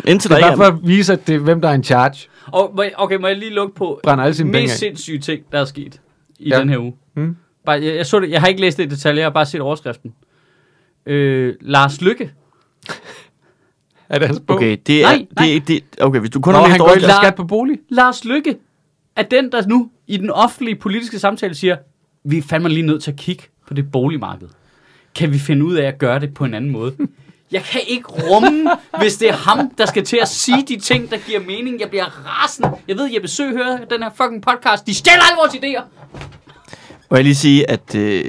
B: Indtil
C: Det
B: der
C: er
B: ikke
C: bare for
B: er.
C: at vise, at det er, hvem der er en charge.
A: Og må jeg- okay, må jeg lige lukke på
C: Brænder alle sine penge af.
A: mest sindssyge ting, der er sket i
C: Ja.
A: ja. den her uge.
C: Mm.
A: Bare, jeg, jeg, så det, jeg har ikke læst det i detalje, jeg har bare set overskriften. Øh, Lars Lykke.
C: Er det hans bog?
B: Okay, det er...
A: Nej, nej.
B: Det, det, okay, hvis du kun
C: Nå,
B: har
C: han
B: læst
C: går ikke
B: overskriften.
C: til
A: overskriften.
C: skat på bolig.
A: Lars Lykke er den, der nu i den offentlige politiske samtale siger, vi er fandme lige nødt til at kigge på det boligmarked. Kan vi finde ud af at gøre det på en anden måde? Jeg kan ikke rumme, hvis det er ham, der skal til at sige de ting, der giver mening. Jeg bliver rasende. Jeg ved, jeg besøger hører den her fucking podcast. De stjæler alle vores idéer.
B: Må jeg lige sige, at, øh,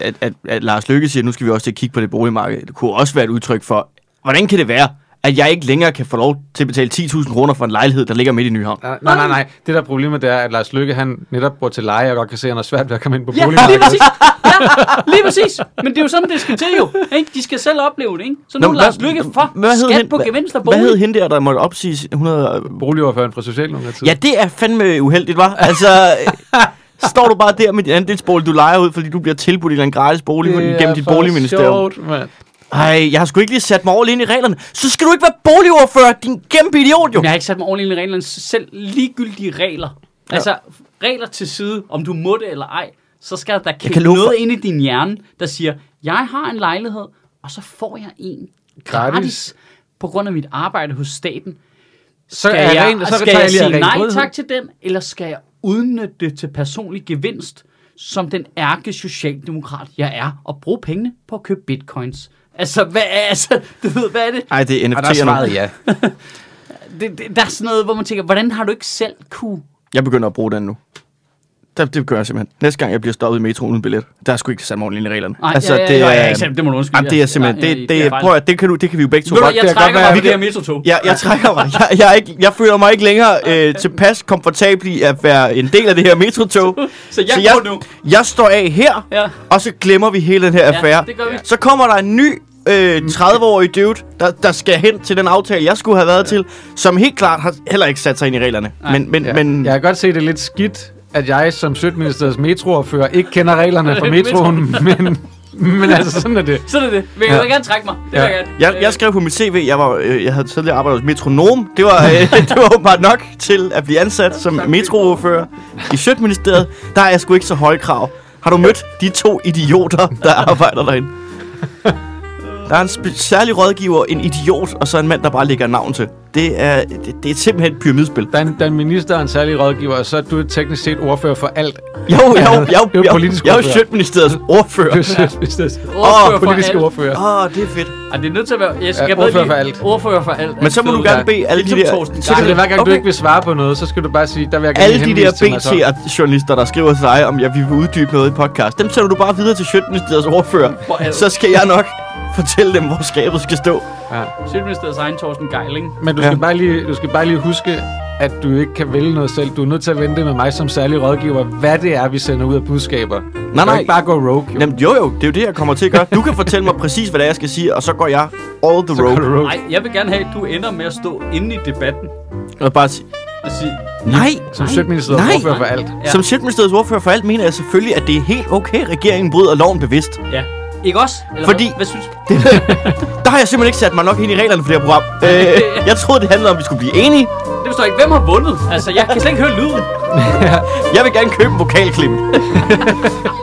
B: at, at, at Lars Løkke siger, at nu skal vi også til at kigge på det boligmarked. Det kunne også være et udtryk for, hvordan kan det være, at jeg ikke længere kan få lov til at betale 10.000 kroner for en lejlighed, der ligger midt i Nyhavn?
C: Nej, nej, nej, nej. Det der er problemet, det er, at Lars Lykke, han netop bor til leje, og godt kan se, at han har svært ved at komme ind
A: [laughs]
C: på
A: Ja, lige
C: boligmarkedet.
A: præcis. Ja, lige præcis. Men det er jo sådan, det skal til jo. Ikke? De skal selv opleve det, ikke? Så nu er
B: men
A: Lars
B: hvad-
A: Lykke for
B: hvad hed
A: skat
B: hende-
A: på
B: hvad-
A: gevinster bolig.
B: Hvad hed hende der, der måtte opsige 100...
C: Boligordføreren fra Socialdemokratiet.
B: Ja, det er fandme uheldigt, var. Altså, øh, står du bare der med din andelsbolig, du leger ud, fordi du bliver tilbudt en eller anden gratis bolig gennem dit boligministerium.
C: Sjovt, mand.
B: Ej, jeg har sgu ikke lige sat mig ordentligt ind i reglerne. Så skal du ikke være boligordfører, din kæmpe idiot jo.
A: Men jeg har ikke sat mig ordentligt ind i reglerne. Så Selv ligegyldige regler. Ja. Altså, regler til side, om du må det eller ej, så skal der da kigge
B: kan love
A: noget
B: for-
A: ind i din hjerne, der siger, jeg har en lejlighed, og så får jeg en gratis,
C: Gratis.
A: gratis på grund af mit arbejde hos staten.
C: Så
A: Skal
C: er
A: jeg,
C: ren- så
A: skal
C: tager
A: jeg
C: lige
A: sige
C: ren
A: nej
C: grådighed.
A: tak til den, eller skal jeg udnytte det til personlig gevinst, som den ærke socialdemokrat, jeg er, og bruge pengene på at købe bitcoins? Altså, hvad er, altså, du ved, hvad er det?
B: Ej, det er
C: Og der er
B: NFT'er
C: svaret
B: nu.
C: ja.
A: det, det? Der er sådan noget, hvor man tænker, hvordan har du ikke selv kunne...
B: Jeg begynder at bruge den nu. Det, det gør jeg simpelthen. Næste gang, jeg bliver stoppet i metroen uden billet, der er sgu ikke sat mig ordentligt ind i reglerne.
A: Nej, altså, ja, ja, det,
B: er,
A: ja, ja, ja, det må du undskylde.
B: Jamen, det er simpelthen, det, det, det, prøv at, det, kan du, det kan vi jo begge to
A: Ved du,
B: godt.
A: hvad, jeg
C: det kan
A: trækker
C: godt være,
A: mig ved det her
C: at
A: metrotog.
B: Jeg, jeg trækker mig. Jeg, jeg, er ikke, jeg føler mig ikke længere øh, tilpas komfortabel i at være en del af det her
A: [laughs]
B: metrotog.
A: Så jeg går
B: jeg,
A: nu.
B: jeg står af her,
A: Ja.
B: og så glemmer vi hele den her affære.
A: det gør vi.
B: Så kommer der en ny øh, 30-årig dude, der, der skal hen til den aftale, jeg skulle have været til, som helt klart har heller ikke sat sig ind i reglerne. Men, men,
C: Ja.
B: men
C: Jeg kan godt se, det er lidt skidt, at jeg som Sødministeriets metrofører ikke kender reglerne for [laughs] metroen, men, men altså sådan er det.
A: Sådan er det. Vil jeg ja. gerne trække mig? Det vil
C: Ja.
A: jeg gerne. Øh,
B: Jeg,
C: Øh.
B: jeg skrev på mit CV, jeg, var, øh, jeg havde tidligere arbejdet hos Metronom. Det var, øh, [laughs] det var åbenbart nok til at blive ansat som metrofører i Sjøtministeriet. Der er jeg sgu ikke så høje krav. Har du mødt de to idioter,
C: [laughs]
B: der arbejder derinde? Der er en spe- særlig rådgiver, en idiot, og så en mand, der bare lægger navn til. Det er, det, det er simpelthen et pyramidspil.
C: Der er, en, der er en minister og en særlig rådgiver, og så er du teknisk set ordfører for
B: [laughs]
C: alt.
B: Jo, jo, jo,
C: er jo
B: jo, jo,
C: politisk
B: jeg er jo
C: ordfører.
B: Sjøtministeriets
C: Du er
B: ordfører.
C: Sødministeriets
A: Ordfører for
C: politiske
A: alt.
C: ordfører.
B: Åh, oh, det er fedt.
A: Ej, det er nødt til at være... Jeg skal
C: Ja,
A: bedre
C: ordfører for
A: lide-
C: alt.
A: Ordfører for alt.
B: Men så må du gerne bede alle de
A: Ligesom
B: der...
A: Torsten
C: Så
B: så
C: det
B: kan
C: er hver gang, okay. du
B: okay.
C: ikke vil svare på noget, så skal du bare sige, der vil jeg gerne
B: Alle de
C: henvise
B: der
C: til mig så.
B: BT-journalister, der skriver til dig, om jeg vil uddybe noget i podcast, dem sender du bare videre til Sjøtministeriets
A: For
B: ordfører.
A: alt.
B: Så skal jeg nok fortælle dem, hvor skabet skal stå.
C: Ja.
A: Sydministeriets egen Torsten Geiling.
C: Men du skal,
B: Ja.
C: bare lige, du skal bare lige huske, at du ikke kan vælge noget selv. Du er nødt til at vente med mig som særlig rådgiver, hvad det er, vi sender ud af budskaber. Nej, du kan
B: nej.
C: ikke bare gå rogue, jo.
B: Jamen, jo jo, det er jo det, jeg kommer til at gøre. Du kan fortælle mig præcis, hvad det er, jeg skal sige, og så går jeg all the
C: så går
B: road.
C: du rogue.
A: Nej, jeg vil gerne have, at du ender med at stå inde i debatten
B: Og bare sige,
A: og sige...
B: nej,
C: Som Sjøtministeriet
B: Nej.
C: ordfører for alt.
A: Ja.
B: som Sjøtministeriets ordfører for alt, mener jeg selvfølgelig, at det er helt okay, at regeringen bryder loven bevidst.
A: Ja. Ikke også? Eller
B: Fordi-
A: Hvad, hvad synes du?
B: Der har jeg simpelthen ikke sat mig nok ind i reglerne for det her program. Øh, jeg troede, det handlede om, at vi skulle blive enige.
A: Det forstår jeg ikke. Hvem har vundet? Altså, jeg kan slet ikke høre lyden.
B: Jeg vil gerne købe en vokalklip.